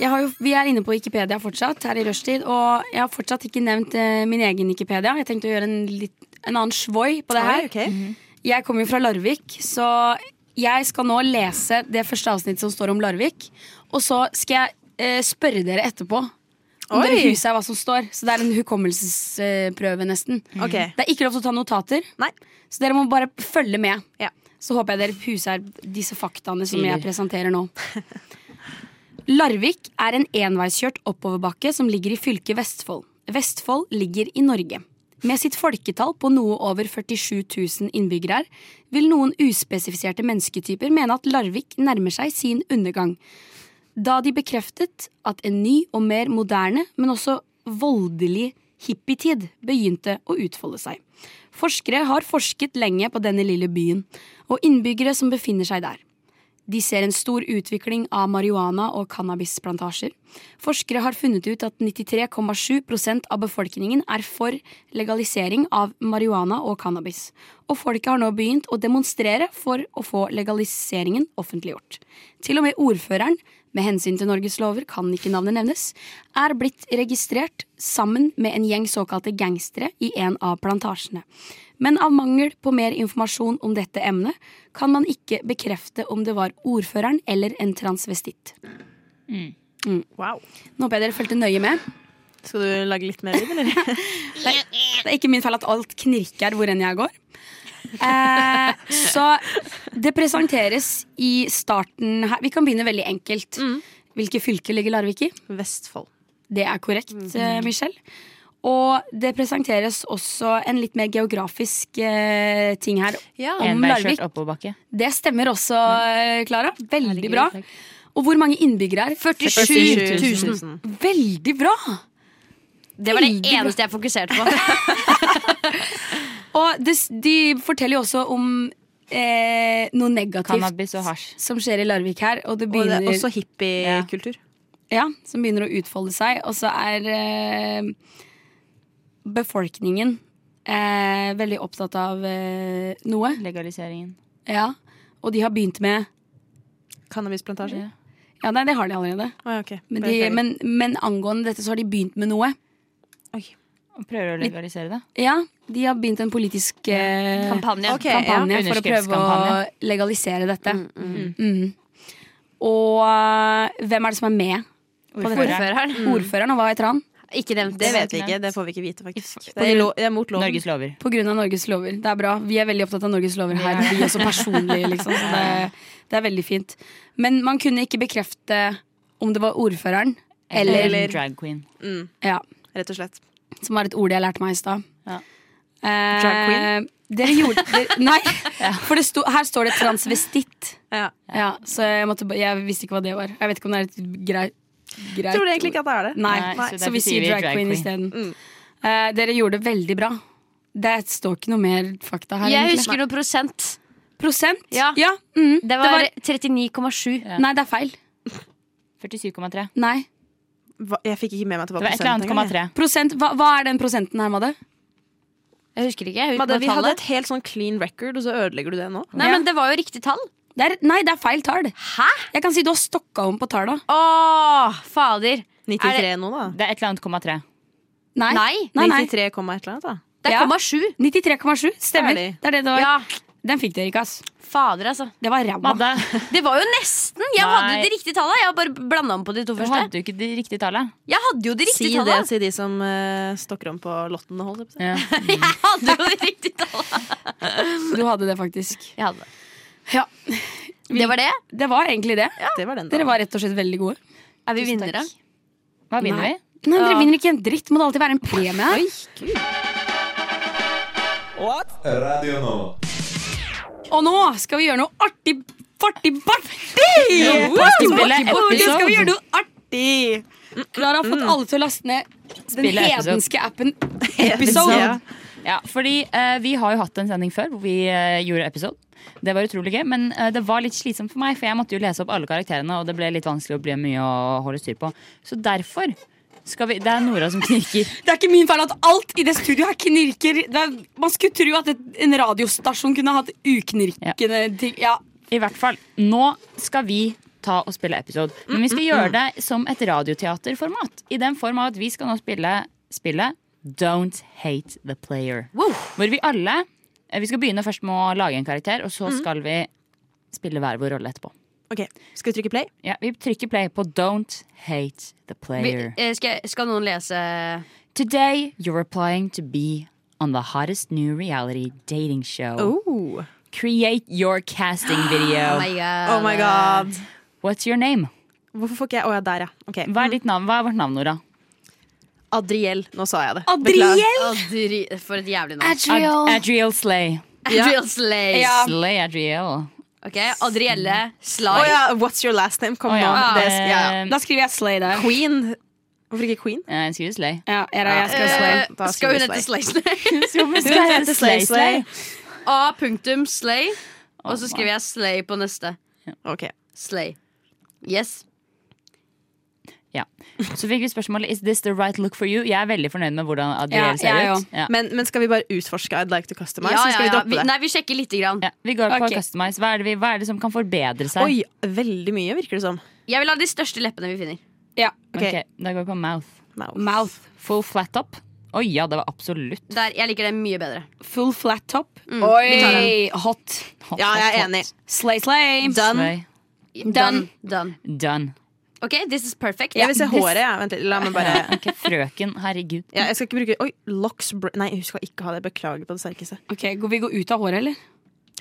Jeg har jo, vi er inne på Wikipedia fortsatt her i rushtid, og jeg har fortsatt ikke nevnt eh, min egen Wikipedia. Jeg tenkte å gjøre en, litt, en annen svoi på det her. Mhm.
Oi, ok.
Jeg kommer jo fra Larvik, så jeg skal nå lese det første avsnittet som står om Larvik. Og så skal jeg eh, spørre dere etterpå om
Oi.
dere husker hva som står. Så det er en hukommelsesprøve, nesten.
Ok.
Det er ikke lov til å ta notater,
Nei.
så dere må bare følge med.
Ja.
Så håper jeg dere huser disse faktaene som jeg presenterer nå. [laughs] Larvik er en enveiskjørt oppoverbakke som ligger i fylket Vestfold. Vestfold ligger i Norge. Med sitt folketall på noe over 47 000 innbyggere vil noen uspesifiserte mennesketyper mene at Larvik nærmer seg sin undergang. Da de bekreftet at en ny og mer moderne, men også voldelig hippietid begynte å utfolde seg. Forskere har forsket lenge på denne lille byen, og innbyggere som befinner seg der. De ser en stor utvikling av marihuana og cannabisplantasjer. Forskere har funnet ut at 93,7 av befolkningen er for legalisering av marihuana og cannabis. Og folket har nå begynt å demonstrere for å få legaliseringen offentliggjort. Til og med ordføreren, med hensyn til Norges lover kan ikke navnet nevnes, er blitt registrert sammen med en gjeng såkalte gangstere i en av plantasjene. Men av mangel på mer informasjon om dette emnet kan man ikke bekrefte om det var ordføreren eller en transvestitt.
Wow.
Nå håper jeg dere fulgte nøye med.
Skal du lage litt mer lyd, [laughs] eller?
Det er ikke min feil at alt knirker hvor enn jeg går. Eh, så det presenteres i starten her Vi kan begynne veldig enkelt. Hvilke fylker ligger Larvik i?
Vestfold.
Det er korrekt, eh, Michelle. Og det presenteres også en litt mer geografisk eh, ting her
Ja.
om Larvik.
Enveiskjørt oppoverbakke.
Det stemmer også, eh, Klara. Veldig bra. Og hvor mange innbyggere er?
47 000.
Veldig bra!
Det var det
Veldig bra.
eneste jeg fokuserte på.
Og det, s- de forteller jo også om eh, noe negativt
Cannabis og hasj.
som skjer i Larvik her. Og det
Og det
begynner,
er også hippiekultur.
ja, som begynner å utfolde seg. Og så er eh, befolkningen eh, veldig opptatt av eh, noe.
Legaliseringen.
Ja. Og de har begynt med
Cannabisplantasje.
Ja.
Ja, nei, det har de allerede.
Å, ja, ok.
Men,
Bare
de,
ferdig.
men, men angående dette, så har de begynt med noe.
Oi.
Og prøver å legalisere det.
Ja, de har begynt en politisk eh,
Kampanje.
Ok,
kampanje
ja.
for å prøve å
Underskriftskampanje.
legalisere dette. Mhm. Og eh, hvem er det som er med? Mm.
Ordfører.
Ordføreren.
Ordføreren, og hva heter han?
Ikke nevnt
Det
det.
vet vi ikke. Det får vi ikke vite, faktisk. Det
grunn-
er, lo det er mot loven.
Norges lover.
På grunn av Norges lover. Det er bra. Vi er veldig opptatt av Norges lover her. Vi også personlig, liksom. Så det, det er veldig fint. Men man kunne ikke bekrefte om det var ordføreren eller,
Eller drag queen.
Ja,
Rett og slett.
som var et ord jeg lærte meg i stad.
Ja.
Eh,
Drag queen?
Dere gjorde dere, Nei, for det sto, her står det transvestitt.
Ja.
Ja, så jeg, måtte, ba- jeg visste ikke hva det var. Jeg vet ikke om det er et greit, greit
Jeg tror egentlig ikke at det er det.
Nei,
Nei,
så,
så derfor
vi sier drag, queen isteden. Eh, dere gjorde det veldig bra. Det står ikke noe mer fakta her.
Jeg
egentlig.
husker noe prosent.
Prosent?
Ja.
mm.
Det var 39,7.
Nei, det er feil.
47,3.
Nei.
hva- Jeg fikk ikke med meg at det var
Det var et eller
prosenten
annet
engang. jeg.
komma
Prosent, hva, hva er den prosenten her, Madde?
Jeg husker ikke. Jeg
Madde,
husker
vi
bare
hadde
tallet.
et helt sånn clean record, og så ødelegger du det nå.
Nei, men det var jo riktig tall.
Det er, nei, det er feil tall.
Hæ?
Jeg kan si du har stokka om på talla.
Åh, fader.
93
Er
nå, da.
Det er et eller annet komma tre.
Nei.
Nei.
nei, nei.
93, komma et eller annet, da.
Det er
Ja.
komma sju.
93,7. Stemmer.
Ferdig.
Det er det det var.
Ja.
Den fikk dere ikke, ass.
Fader, altså.
Det var ræva.
Madde,
Det var jo nesten. Jeg
Nei.
hadde jo det riktige tallet. Jeg har bare blanda om på de to
[laughs] du
første.
hadde jo ikke det riktige tallet.
Jeg hadde jo det
Si
riktige
det
tallet.
til de som eh, stokker om på lottene. Holdt jeg på å si.
Ja.
[laughs] Jeg hadde jo det riktige tallet.
Du hadde det faktisk.
[laughs] Jeg hadde det.
Ja.
Det var det.
Det var egentlig det.
Det var den, da.
Dere var rett og slett veldig gode.
Er vi vinnere?
Hva vinner vi?
Nei. Nei, Dere vinner ikke en dritt. Må det alltid være en premie her?
Radio nå.
Og nå skal vi gjøre noe artig, fartig, bartig!
Barti, spille
Nå skal vi
episode.
gjøre noe artig! Klara har fått alle til å laste ned den
Spille episode.
hedenske appen Episode.
Ja.
Ja, fordi eh, vi har jo hatt en sending før hvor vi eh, gjorde episode. Det var utrolig gøy, men eh, det var litt slitsomt for meg, for jeg måtte jo lese opp alle karakterene, og det ble litt vanskelig å bli mye å holde styr på. Så derfor skal vi Det er Nora som knirker.
Det er ikke min feil at alt i det studioet her knirker. Det er, man skulle tro at et, en radiostasjon kunne hatt uknirkende ting. Ja.
I hvert fall. Nå skal vi ta og spille episode. Men vi
Mm,
skal gjøre det som et radioteaterformat. I den form at vi skal nå spille spillet Don't Hate The Player. Hvor vi alle eh, Vi skal begynne først med å lage en karakter, og så
Mm.
skal vi spille hver vår rolle etterpå.
Ok, Skal vi trykke play?
Ja, vi trykker play på Don't Hate The
Vi,
Player.
eh, skal, jeg- skal noen lese
Today you're applying to be on the hottest new reality dating show.
Oh,
Create your
[gasps]
casting video.
my god.
oh my god.
What's your name?
Hvorfor får ikke jeg Å ja, der, ja. Ok.
Mm.
Hva er, ditt navn? Hva er vårt navn, Nora?
Adriel. Nå sa jeg det. Beklager.
Adriel!
Adri for et jævlig navn.
Ad
Adriel.
Adriel Slay.
Adriel Slay.
Ja.
Slay Adriel.
Ok, Adrielle
Å
Slay.
ja, what's your last name? Kom
Å ja.
nå. Det skal, ja, ja.
Eh,
Da skriver jeg Slay der.
Queen. Hvorfor ikke Queen?
eh, jeg skriver Slay.
Ja, jeg, jeg skal
Eh,
slay.
Da
skal hun
skriver
hete Slay [laughs]
[laughs]
Slay?
Skal jeg hete Slay Slay?
A punktum Slay. Og så skriver jeg Slay på neste.
Ok.
Slay. Yes.
Ja. Så fikk vi spørsmålet Is this the right look for you. Jeg er veldig fornøyd med hvordan
Ja,
Adriel ser
jeg
ut. Ja.
Men, men skal vi bare utforske I'd like to customize?
Ja,
så skal
ja,
vi
ja.
droppe det?
Nei, vi sjekker lite grann.
Ja, vi går på
Ok.
customize. Hva er, det vi, hva er det som kan forbedre seg?
Oi, veldig mye, virker det som.
Jeg vil ha de største leppene vi finner.
Ja.
Ok, Da går vi på mouth.
Mouth.
Mouth.
Full flat up. Oi, ja, det var absolutt
Der, jeg liker det mye bedre.
Full flat top.
vi tar
Oi! Hot.
hot,
Ja, jeg er
hot,
enig.
hot.
Slay, slay.
Done.
Slay.
Done. Done.
Done.
Ok, this is perfect.
Jeg vil se håret, jeg. Vent litt. La meg bare
Ok, frøken, herregud.
ja, Jeg skal ikke bruke Oi, locks br Nei, hun skal ikke ha det. Beklager på det sterkeste.
Ok, Går vi går ut av håret, eller?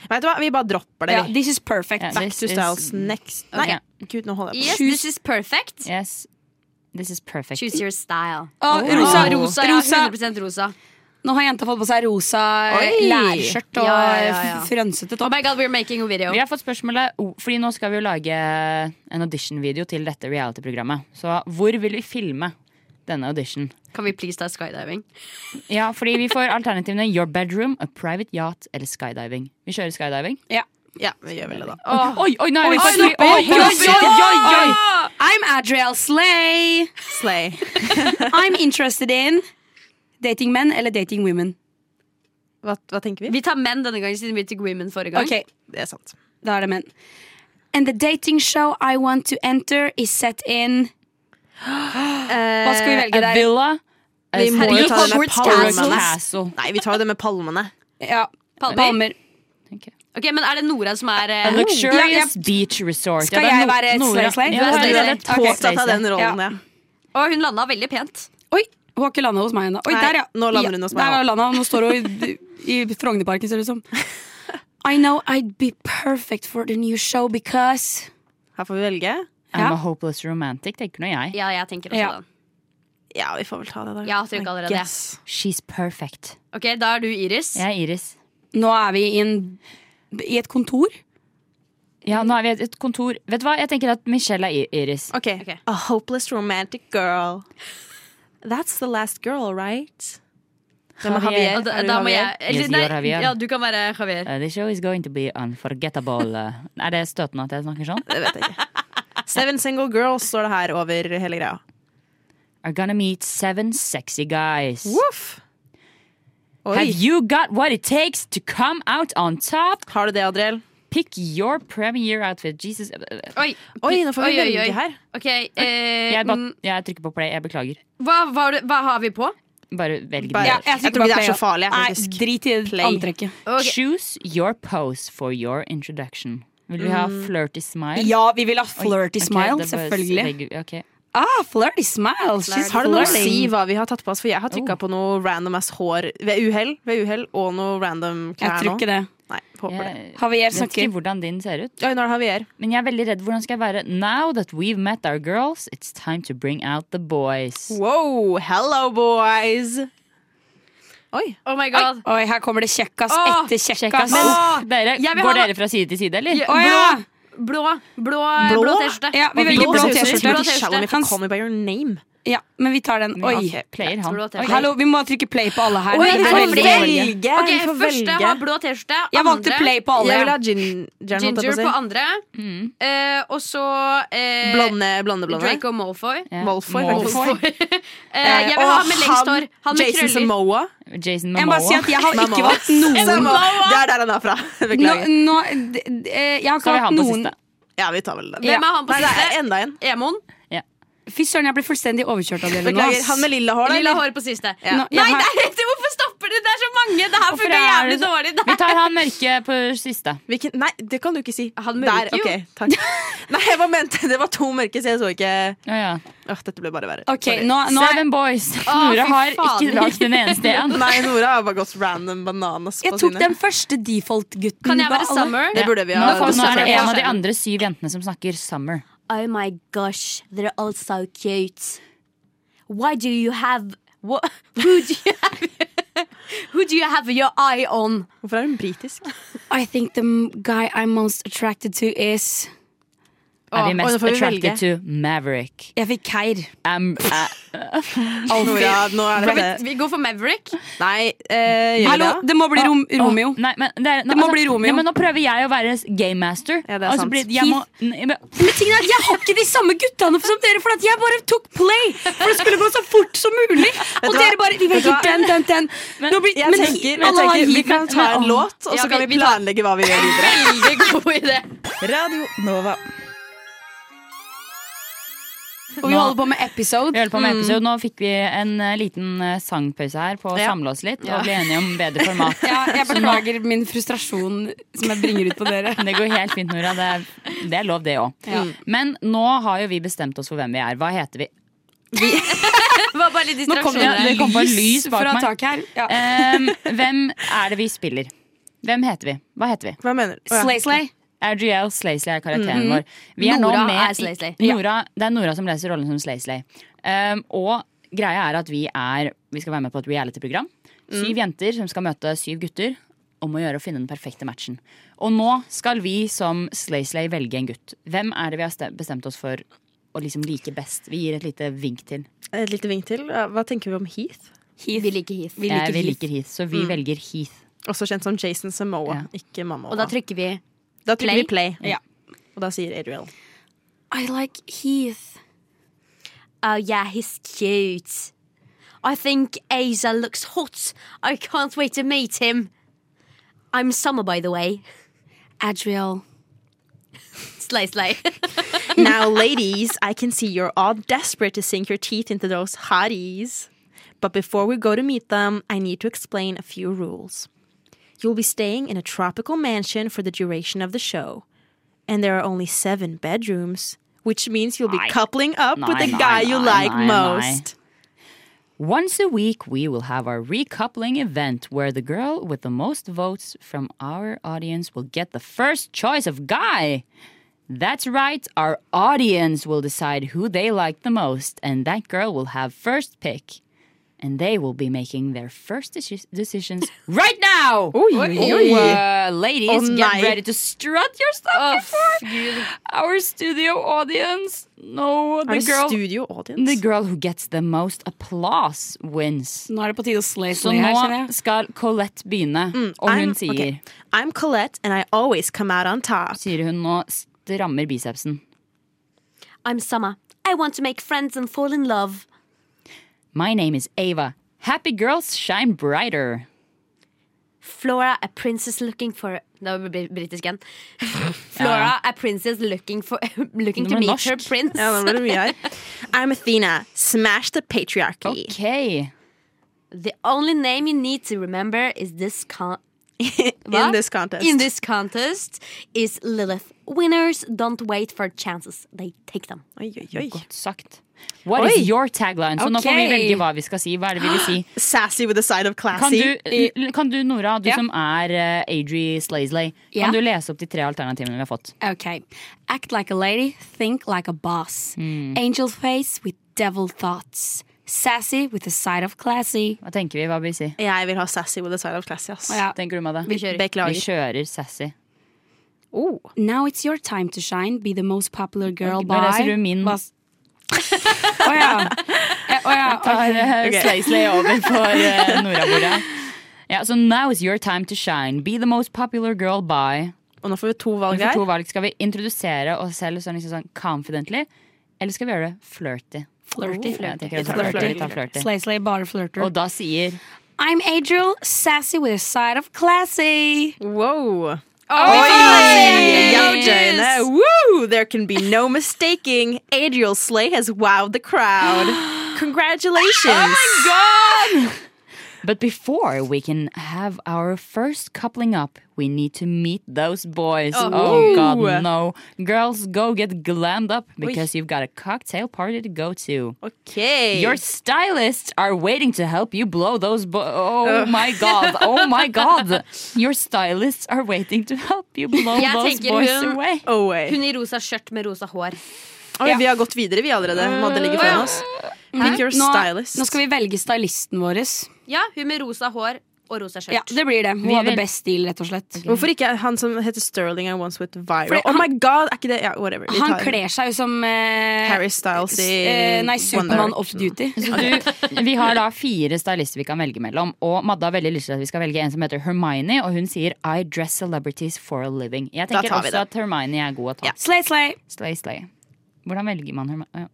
Vet du hva, vi bare dropper det.
Ja,
vi.
This is perfect.
Ja,
Back
this
to
is-
styles next. Nei, gud, nå holder jeg
Yes,
på.
this is perfect.
Yes, this is perfect.
Choose your style.
Å, rosa,
Rosa, rosa, ja,
rosa.
100 rosa.
Nå har jenta fått på seg rosa
Oi.
lærskjørt og
Ja, ja, ja.
frønsete
Oh
topp.
my god, we're making a video.
Vi har fått spørsmålet, o- fordi nå skal vi jo lage en audition-video til dette reality-programmet. Så hvor vil vi filme denne audition?
Kan vi please ta skydiving?
Ja, fordi vi får alternativene your bedroom, a private yacht eller skydiving. Vi kjører skydiving.
Ja, vi gjør vel det, da.
Oi, oi, nå er vi
Oi,
faktisk-
slapp
oi,
av,
oi,
slapp av.
oi, oi, oi.
I'm Adriel Slay.
Slay.
I'm interested in dating men eller dating women.
Hva, hva tenker vi?
Vi tar menn denne gangen, siden vi tok women forrige gang.
Ok,
Det er sant.
da er det menn. And the dating show I want to enter is set in Hva skal vi
Eh,
velge
A
der?
villa, a
Vi må jo
beach,
ta det med
or a
palmene.
castle.
Nei, vi tar jo det med palmene.
Ja,
Eh, Palmer.
Palmer.
Ok, Men er det Nora som er
A
eh,
luxurious beach resort.
Skal
Ja, det er
jeg
no-
være et
Nora-
slay-slay?
Ja,
Du er
det er
slay-slay.
et
Ok.
Påtatt av den
slay-slay.
rollen,
Ja.
ja.
Å, hun landa veldig pent.
Oi, hun har ikke landa hos meg ennå. Oi,
Nei,
der, ja.
nå lander hun
Ja,
hos meg
Der
også.
er landa. Nå står hun i, i Frognerparken, ser det ut som. [laughs] I know I'd be perfect for the new show because
Her får vi velge.
I'm a hopeless romantic, tenker nå jeg.
Ja, jeg tenker også
Ja.
det.
Ja, vi får vel ta det, da.
Jeg har trykket
I
allerede.
guess.
She's perfect.
Ok, Da er du Iris.
Jeg er Iris.
Nå er vi i, en, i et kontor.
Ja, nå er vi i et kontor. Vet du hva, jeg tenker at Michelle er I- Iris.
Ok.
Ok.
A hopeless romantic girl. That's the last girl, right? Hvem er
Javier.
Javier?
Og da,
Er du
da må jeg
Javier?
Yes,
nei,
you are Javier.
Ja, du kan være Javier.
Uh, the show is going to be unforgettable. Uh, er det støtende at jeg snakker sånn?
Det vet jeg ikke. Seven single girls står det her over hele greia.
are gonna meet seven sexy guys.
Woof.
Have
Oi.
you got what it takes to come out on top?
Har du det, Adriel?
Pick your premier outfit. Jesus. Uh,
Oi,
Oi, nå får vi
Oi, oi, oi.
velge her.
Ok, eh,
Jeg, ba-
mm,
jeg trykker på play. Jeg beklager.
hva, var det- hva har vi på?
Bare velg den.
Bare-
Ja,
Jeg
trykker
tror ikke
bare
det er
play,
så farlig, jeg,
Nei,
faktisk.
drit i antrekket.
Ok.
Choose your pose for your introduction. Vil vi ha flirty smile?
Ja, vi vil ha flirty
Ok, da
smile,
bare
selvfølgelig.
legger vi- ok.
Ah, flirty smile. She's
Har det noe å
flirting.
si hva vi har tatt på oss? For jeg har trykka
Oh.
på noe random ass hår ved uhell, ved uhell og noe random
Jeg
klær
tror ikke
nå.
det.
Nei, håper det.
Jeg
Javier
vet ikke
snakker.
hvordan din ser ut,
Oi, nå er det Javier.
men jeg er veldig redd hvordan skal jeg være. Now that we've met our girls, it's time to bring out the boys.
Wow, hello boys! Oi.
Oh my god.
Oi, her kommer det kjekkas
Åh,
etter kjekkas.
Men
Åh,
dere,
jeg vil
går
ha-
dere fra side til side, eller?
Ja,
Å ja!
Blå, blå,
Blå?
blå T-skjorte.
Ja, vi
Og
velger
blå
blå
truser.
Blå
T-skjorte.
T-skjorte. Shall me if you
Hans-
call me by your name.
Ja, men vi tar den. Oi.
Ok, player han.
tror det var
Oi.
Hallo, vi må trykke play på alle her.
Oi,
Det er
her er
veldig
flere.
dårlig.
Ok, Første har blå T-skjorte.
Jeg valgte
andre
play på alle.
Jeg vil
ja.
ha gin, gin, holdt jeg
Ginger
på å
på
si.
andre.
Mm.
Eh, og så eh,
Blonde, blonde, blonde.
Draco Malfoy.
Ja.
Malfoy,
Malfoy.
Eh, jeg vil ha han med lengst hår. Han med
Jason
krøller.
Samoa.
Jason
Jeg må bare si at
Momoa.
jeg har
Mamma.
ikke valgt noen
Samoa. Det er der han er fra. [laughs]
nå,
Beklager.
nå, d- d- eh, Jeg har
Så
ikke
har vi
hatt
han på
noen
siste.
Ja, vi tar vel den.
Hvem er han på
Nei, det
siste?
er enda en.
Emon.
Fy søren, jeg blir fullstendig overkjørt av dere nå.
Beklager.
ass.
Han med lilla hår, da?
Lilla
eller?
hår på siste.
Ja.
Nå,
Nei,
jeg har-
det er, hvorfor stopper det? Det er så mange! Det her
Hvorfor
funka
er
jævlig
det så-
dårlig. Det
Vi tar han mørke på siste.
Hvilken? Nei, det kan du ikke si.
Han
Der,
mørker jo.
ok, takk. [laughs] Nei, hva mente Det var to mørke, så jeg så ikke
Å ja.
Åh, Dette ble bare verre.
Ok,
Sorry.
nå, nå er,
Seven boys. Nora har ikke
faen.
lagd en eneste
[laughs]
en.
Nei, Nora har bare gått random bananas
jeg
på
tok
sine.
den første default-gutten.
Kan jeg
da,
være
alle-
summer?
Det burde vi
Nå,
ha.
får- nå er det
Ja.
en av de andre syv jentene som snakker summer.
Oh my gosh, they're all so cute. Why do you have what, [laughs] who do you have [laughs] who do you have your eye on?
Hvorfor er hun britisk?
I think the guy I'm most attracted to is
Er vi
Å,
mest
nå får vi
attracted
velge.
to Maverick?
Jeg fikk Keir.
Am- eh,
Nora, nå er det det.
Vi går for Maverick.
Nei, eh, gjør vi
Hallo,
det?
det må bli Rom Romeo.
Åh, nei, men det, er, nå,
Det må bli
Nei,
Romeo.
men nå prøver jeg å være s- game master.
Ja, det er
og så
sant.
blir- jeg må, n- jeg må-
Men tingen er at Jeg har ikke de samme guttene som dere, for at jeg bare tok play. For det skulle gå så fort som mulig. Og
hva?
dere bare Vi
Vet du
velger
hva?
den, den, den. Nå blir,
Jeg
men alle
tenker, jeg
har
tenker Vi
hit,
kan
men-
ta en
men-
låt, og
Ja,
så kan
vi-
vi
vi tar-
planlegge hva vi gjør videre.
Veldig god idé.
Radio Nova.
Og vi holder på med episode.
vi holder på med
Mm.
episode. Nå fikk vi en eh, liten eh, sangpause her på å
Ja.
samle oss litt og bli enige om
[laughs]
bedre format.
Ja, jeg beklager min frustrasjon som jeg bringer ut på dere.
Det går helt fint, Nora. Det er, det er lov, det òg. Men nå har jo vi bestemt oss for hvem vi er. Hva heter vi?
Det var bare litt
Nå kom det,
distraksjoner.
Ja, det kom bare lys bak
fra
meg.
taket her. Ja.
Ehm, hvem er det vi spiller? Hvem heter vi? Hva heter vi?
Hva mener du? Å, ja.
Slay, slay.
Adriel Slaisley er karakteren vår. Vi er nå
Nora
med
er Slaisley.
i- Nora, det er Nora som leser rollen som Slaisley. Ehm, og greia er at vi er Vi skal være med på et reality-program. Syv jenter som skal møte syv gutter om å gjøre å finne den perfekte matchen. Og nå skal vi som Slaisley velge en gutt. Hvem er det vi har ste- bestemt oss for å liksom like best? Vi gir et lite vink til.
Et lite vink til. Hva tenker vi om Heath?
Vi liker Heath.
Vi
Eh,
liker
vi
Heath.
liker Heath, så vi velger Heath.
Også kjent som Jason Samoa, ikke mamma.
Og da trykker vi
Da trykker vi play.
Ja.
Og da sier Ariel.
I like Heath.
Oh yeah, he's cute. I think Asa looks hot. I can't wait to meet him. I'm Summer, by the way.
Adriel.
Slay, slay. [laughs]
Now, ladies, I can see you're all desperate to sink your teeth into those hotties. But before we go to meet them, I need to explain a few rules. You'll be staying in a tropical mansion for the duration of the show, and there are only seven bedrooms, which means you'll be
Nei.
coupling up with the
Nei,
guy
nei,
you
nei,
like
nei, nei.
most.
Once a week, we will have our recoupling event where the girl with the most votes from our audience will get the first choice of guy. That's right, our audience will decide who they like the most, and that girl will have first pick. And they will be making their first deci- decisions [laughs] right now. Oh, uh, ladies,
Oh,
get
nei.
ready to strut your stuff before our studio audience. No, the
Er det
girl
studio
The
audience?
girl who gets the most applause wins.
Nå er det på tide å slay,
Så
slay her, Mm,
nå
kjenner jeg.
skal Colette begynne, og hun
I'm,
sier
okay. I'm Colette, and I always come out on
[laughs]
top.
Sier hun nå strammer bicepsen.
I'm Summer. I want to make friends and fall in love.
My name is Ava. Happy girls shine brighter.
Flora, a princess looking for Det var br- britisk igjen. [laughs] Flora, a princess looking, for, [laughs] looking to
Det var
meet
norsk.
her
[laughs]
prince.
Ja, det var det mye her. I'm Athena. Smash the patriarchy.
Ok.
The only name you need to remember is this con [laughs] Hva?
In this contest.
In this contest is Lilith. Winners don't wait for chances. They take them.
Oi, oi, oi.
Godt sagt. What is your tagline? Så nå får vi
Ok.
velge hva vi skal si. Hva er det vi vil si?
[gasps]
Sassy with a side of
Kan
classy.
du, kan du Nora, du
Ja.
som er eh, Adri Slazley,
Ja.
kan du lese opp de tre alternativene vi har fått?
Ok. Act like a lady, think like a boss. Angel face with devil thoughts. Sassy with a side of classy.
Hva tenker vi? Hva bør vi si?
Jeg vil ha sassy with a side of classy. Ass.
Ja.
Tenker du med det?
kjører.
Vi
Beklager.
kjører sassy.
Oh.
Now it's your time to shine. Be the most popular girl
Ok,
by
nå leser du min.
Å ja. Eh, å
[laughs]
ja,
Tar eh,
Ok.
Slazley over for eh, Nora-bordet. Ja, så now is your time to shine. Be the most popular girl by
Og nå får vi to
Vi
valg
får
her.
to valg. Skal vi introdusere oss selv sånn, liksom sånn confidently, eller skal vi gjøre det flirty?
Flirty.
Jeg tenker vi tar
Flirty.
flirty, vi tar flirty.
Slay Slay bare flørter.
Og da sier
I'm Adriel, sassy with a side of classy.
Wow.
Oi!
Jaktøyene. Woo! There can be no mistaking. Adriel Slay has wowed
[gasps]
the crowd. Congratulations.
But before we can have our first coupling up, we need to meet those boys. Oh, god no. Girls, go get glammed up because you've got a cocktail party to go to.
Okay.
Your stylists are waiting to help you blow those bo- Oh my
[laughs]
god. Oh my god. Your stylists are waiting to help you blow
Jeg
those
tenker
boys
hun-
away.
Oh, wait.
Hun i rosa skjørt med rosa hår.
Oi, Vi har gått videre, vi allerede. Madde ligger foran oss. Pick your
Nå,
stylist.
nå skal vi velge stylisten vår.
Ja, hun med rosa hår og rosa skjørt.
Ja, det blir det. Hun
Vi
hadde
vil-
best stil, rett og slett.
Hvorfor ikke han som heter Sterling I once went viral?
Fordi
Oh
han-
my god, er ikke det Ja, whatever. Vi
Han
tar-
kler seg jo som eh,
Harry Styles i
eh, Nei,
One
Supermann
Direction.
off-duty.
Så du, vi har da fire stylister vi kan velge mellom, og Madde har veldig lyst til at vi skal velge en som heter Hermione, og hun sier I dress celebrities for a living. Jeg
Da
tenker
tar vi
også at Hermione er god å ta.
Ja.
Slay, slay.
Slay, slay. Hvordan velger man Hermione?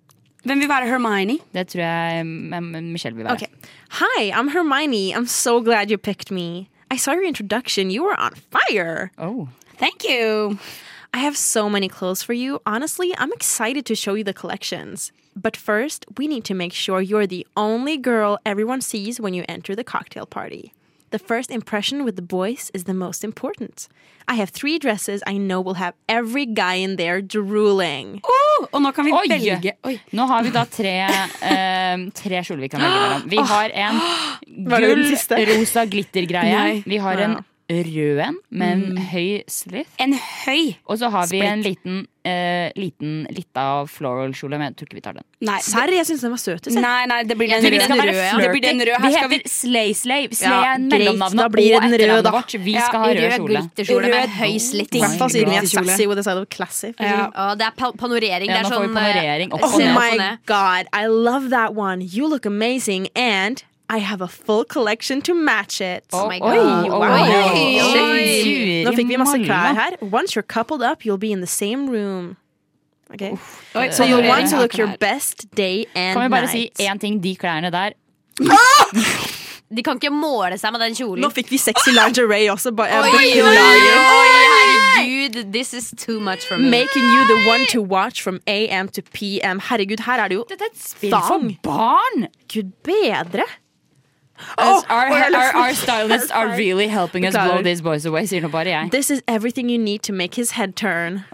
Hvem vil være Hermione?
Det tror jeg mm, mm, Michelle vil være.
Okay. Hi, I'm Hermione. I'm so glad you picked me. I saw your introduction. You were on fire.
Oh.
Thank you.
I have so many clothes for you. Honestly, I'm excited to show you the collections. But first, we need to make sure you're the only girl everyone sees when you enter the cocktail party. The first impression with the boys is the most important. I have three dresses I know will have every guy in there drooling.
Oh, og nå kan vi
Oi!
velge Oi.
Nå har vi da tre, eh, tre kjoler vi kan velge mellom. Vi har en
Var det den
gull,
siste?
rosa glittergreie.
Nei.
Vi har en rød en med en
Mm.
høy slith.
En høy
Og så har vi en liten, eh, liten litt av floral-kjole, men jeg tror ikke vi tar den.
Nei,
Serr, jeg syns den var søt. jeg.
nei, nei det blir den
Så vi
røde.
skal være
Det blir den
flirty.
røde.
Vi
Her skal vi
heter Slay Slay. Slay
Ja,
er
greit,
mellomnavnet
da blir det
og
den
etternavnet
røde, da.
vårt. Vi skal ha rød kjole.
glitterkjole med
Rød-
høy
I
slitt.
I hvert fall siden vi er
Grå kjole.
sassy with a side of classy. for å si det
Ja.
Å, det er pa- panorering.
Ja,
det er
nå får vi
sånn,
panorering opp
eh,
og
Oh
se
ned.
på
my
det.
god, I love that one. You look amazing and I have a full collection to match it.
Oh
Oi,
my god.
wow.
Oi,
Shit.
oi.
Suri
Nå fikk vi masse klær
malla.
her. Once you're coupled up, you'll be in the same room. Okay.
Oi,
So you'll want to
panorering.
look your best day and
Kan vi bare si
night.
én ting? De klærne der
De kan ikke måle seg med den kjolen.
Nå fikk vi sexy lingerie også. ba- eh,
Oi, oi, oi,
beklager.
herregud. This is too much for me.
Making you the one to watch from AM to PM. Herregud, her er det jo
For
Thong.
barn!
Gud bedre. Oh, er,
Us- our,
[laughs]
our, our stylists are really helping us
Beklager.
blow these boys away, sier nå bare jeg.
This is everything you need to make his head turn.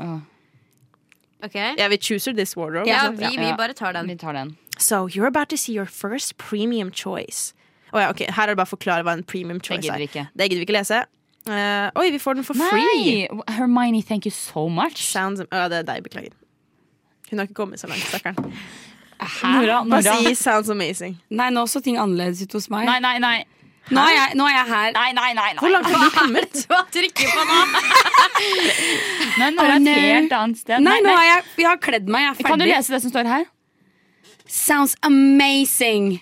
Ok?
Ja, vi chooser this wardrobe.
Ja,
altså.
vi, vi bare tar den.
Vi tar den.
So you're about to see your first premium choice. Å ja, ok, Her er det bare å forklare hva en premium choice
gidder
er.
vi ikke.
Det gidder vi ikke lese. Eh, oi, vi får den for free!
Free! Hermione, thank you so much.
Sounds, Å, det er deg, beklager. Hun har ikke kommet så langt, stakkaren.
Nora,
Bare
Nora.
si 'sounds amazing'.
Nei, nå så ting annerledes ut hos meg.
Nei, nei, nei.
Nå, er jeg, nå er jeg her.
Nei, nei, nei,
Hvor
nei.
langt har du kommet?
Nei, Nora er
Å,
et
nei.
helt annet sted.
Nei, nå er jeg, jeg har kledd meg. Jeg er
Kan du
ferdig.
lese det som står her?
Sounds amazing.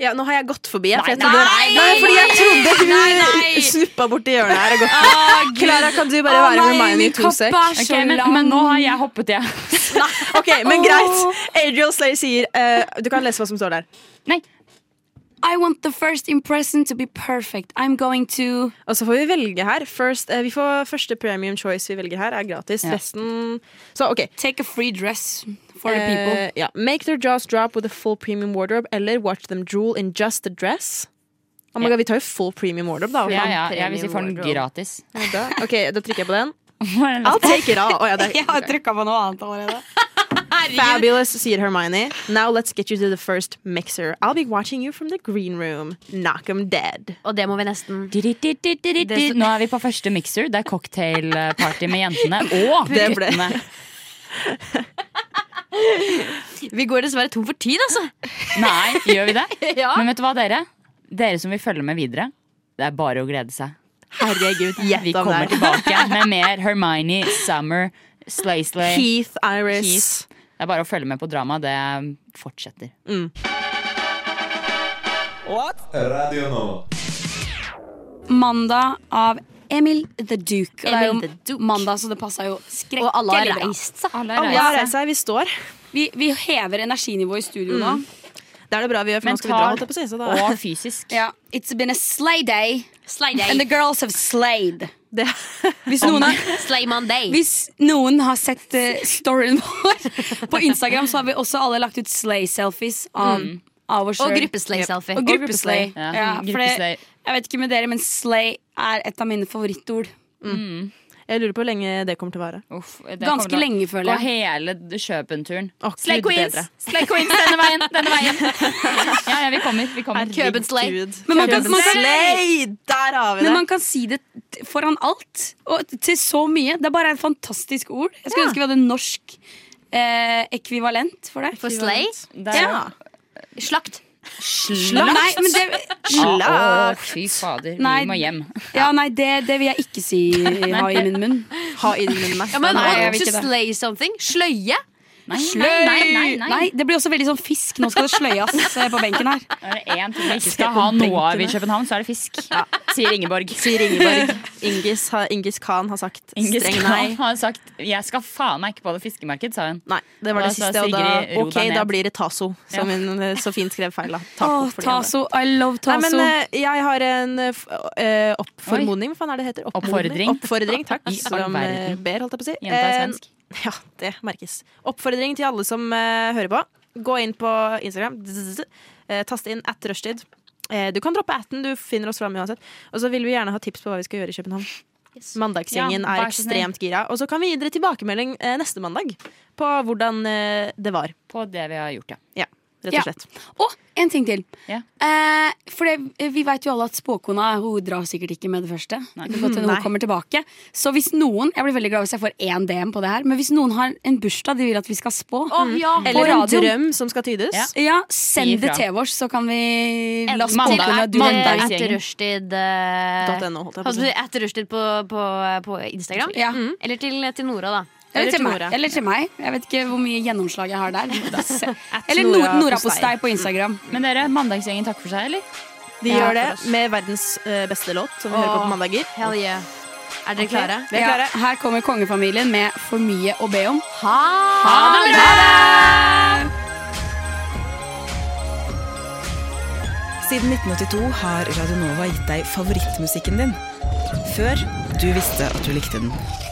Ja, nå har jeg gått forbi. Jeg, for jeg
Nei,
trodde,
nei!
fordi jeg trodde hun
Nei, nei!
snuppa borti hjørnet her og gått forbi. Klara, kan du bare
Å
være
nei,
med meg i
min
to sek?
pappa er
Ok,
så
men,
lang.
men nå har jeg hoppet, [laughs] jeg.
Ok, men greit. Adriel Slay sier eh, Du kan lese hva som står der.
Nei.
I want the first impression to be perfect. I'm going to
Og så får vi velge her. First, eh, vi får Første premium choice vi velger her, er gratis.
Ja.
Resten Så OK.
take a free dress for the people.
Eh, ja. Make their jaws drop with a full premium wardrobe, eller watch them drool in just the dress. Oh my
Ja.
God, vi tar jo full premium wardrobe, da.
Ja, ja, jeg vil si for den [laughs] gratis.
Da- Ok, da trykker jeg på
[laughs]
den. I'll take it all. Å, ja, det er-
trykka på noe annet
[laughs]
allerede.
Fabulous, sier Hermione. Now let's get you to the first mixer. I'll be watching you from the green room. Knock 'em dead.
Og det må vi nesten
Di-di-di-di-di-di. Nå er vi på første mixer. Det er cocktailparty med [laughs] jentene og
Det ble-
guttene.
Vi går dessverre tom for tid, altså.
[laughs] Nei, gjør vi det? [laughs]
Ja.
Men vet du hva, dere? Dere som vil følge med videre, det er bare å glede seg.
Herregud,
Vi
gjett om
kommer
det. er.
tilbake
[laughs]
med mer Hermione, Summer, Slay-Slay.
Keith, Iris.
Det er bare å følge med på drama. Det fortsetter.
Radio nå.
Mandag av Emil the Duke. Og det er
Emil
jo
the Duke.
Mandag, så det passa jo skrekkelig
Og alle har
bra.
reist seg.
Alle har reist seg, vi står.
Vi, vi hever energinivået i studio nå.
Det er det bra vi gjør, for nå skal vi dra. Holdt jeg på å si, så da.
og fysisk.
Ja. It's been a slay day,
Slay
and the
day.
girls have slayed.
[laughs] Det.
Hvis noen har
[laughs] Slay Monday.
Hvis noen har sett eh, storyen [laughs] vår på Instagram, så har vi også alle lagt ut slay-selfies av, av oss
Og
selv.
gruppeslay-selfie.
Og gruppeslay.
Ja,
Ja, for det,
gruppeslay.
jeg vet ikke med dere, men slay er et av mine favorittord.
Jeg lurer på hvor lenge det kommer til å vare.
Uff, det kommer
Ganske
til å-
lenge, føler
Gå
jeg.
hele d- Kjøpenturen.
Å,
Slay
Gud,
Queens!
bedre.
Slay Queens denne veien! Denne veien. Ja, ja, vi kommer. Vi kommer.
Køben slay.
Gud.
Men man kan-
Køben
man kan-
slay! Der har vi
Men
det.
man kan si det t- foran alt, og til så mye. Det er bare et fantastisk ord. Jeg skulle
Ja.
ønske vi hadde en norsk eh, ekvivalent for det.
For slay.
Det er-
Ja.
Slakt.
Nei, men det,
Å, å, fy fader.
Nei.
Vi må hjem.
ja, nei det, det vil jeg ikke si ha i min munn.
Ha i munnen meg.
Ja, men
Nei, jeg
og
vil
to
ikke det.
slay something. Sløye.
Nei, nei, nei, nei, nei.
Nei, det blir også veldig sånn fisk. Nå skal det sløyes eh, på benken her.
Er det én ting vi ikke skal ha noe av i København, så er det fisk. Sier Ingeborg.
Sier Ingeborg. Ingis, har- Ingis Khan har sagt streng
Han [laughs]
nei.
har sagt 'jeg skal faen meg ikke på det fiskemarkedet', sa hun.
Nei, det var
Da
det
sa
siste. Og da,
Sigrid, ro
ok,
deg ned.
da blir det Taso, som hun eh, så fint skrev feil. da. Taco
Åh,
for de andre.
Taso, I love
Nei,
Taso.
men eh, jeg har en eh, f- eh, oppformodning. Hva faen er det det heter?
Oppfordring.
Oppfordring, takk.
I all
Som eh,
verden.
ber, holdt jeg på å si.
Jenta er
Eh,
svensk.
Ja, det merkes. Oppfordring til alle som eh, hører på. Gå inn på Instagram, zzz, eh, tast inn at rushtid. Eh, du kan droppe atten, du finner oss fram uansett. Og så vil vi gjerne ha tips på hva vi skal gjøre i København. Mandagsgjengen
Ja,
er
vær så snill.
ekstremt gira. Og så kan vi gi dere tilbakemelding eh, neste mandag på hvordan eh, det var.
På det vi har gjort, ja.
Ja, rett
Ja.
og slett.
Og eh, en ting til.
Ja.
Eh, for det, vi vet jo alle at spåkona hun drar sikkert ikke med det første. Det kan hende
Nei.
hun kommer tilbake Så hvis noen Jeg blir veldig glad hvis jeg får én DM på det her, men hvis noen har en bursdag de vil at vi skal spå,
Eller en
radioen.
drøm som skal tydes.
Ja.
ja,
Si
send det
ifra.
til oss, så kan vi la
Mandag.
spåkona du
Mandag.
Mandag.
Mandagsgjengen.
Etter rushtid. eh,
.no, holdt jeg på å
Altså
si.
etter rushtid på, på, eh, på Instagram.
liksom.
Mm.
Ja.
Eller til, til Nora, da.
Mm. Eller,
Eller
til meg.
Nora.
Eller til meg. Jeg vet ikke hvor mye gjennomslag jeg har der. Eller
Nora
Nora, Nora på
Postei.
stei på Instagram.
Men dere, mandagsgjengen takker for seg, eller?
De
Ja,
gjør det
for oss.
med verdens eh, beste låt, som vi
Åh.
hører på på mandager.
Hell yeah. Er dere klare?
Vi er klare.
Ja, her kommer kongefamilien med For mye å be om.
Ha det bra!
Siden 1982 har Radionova gitt deg favorittmusikken din. Før du visste at du likte den.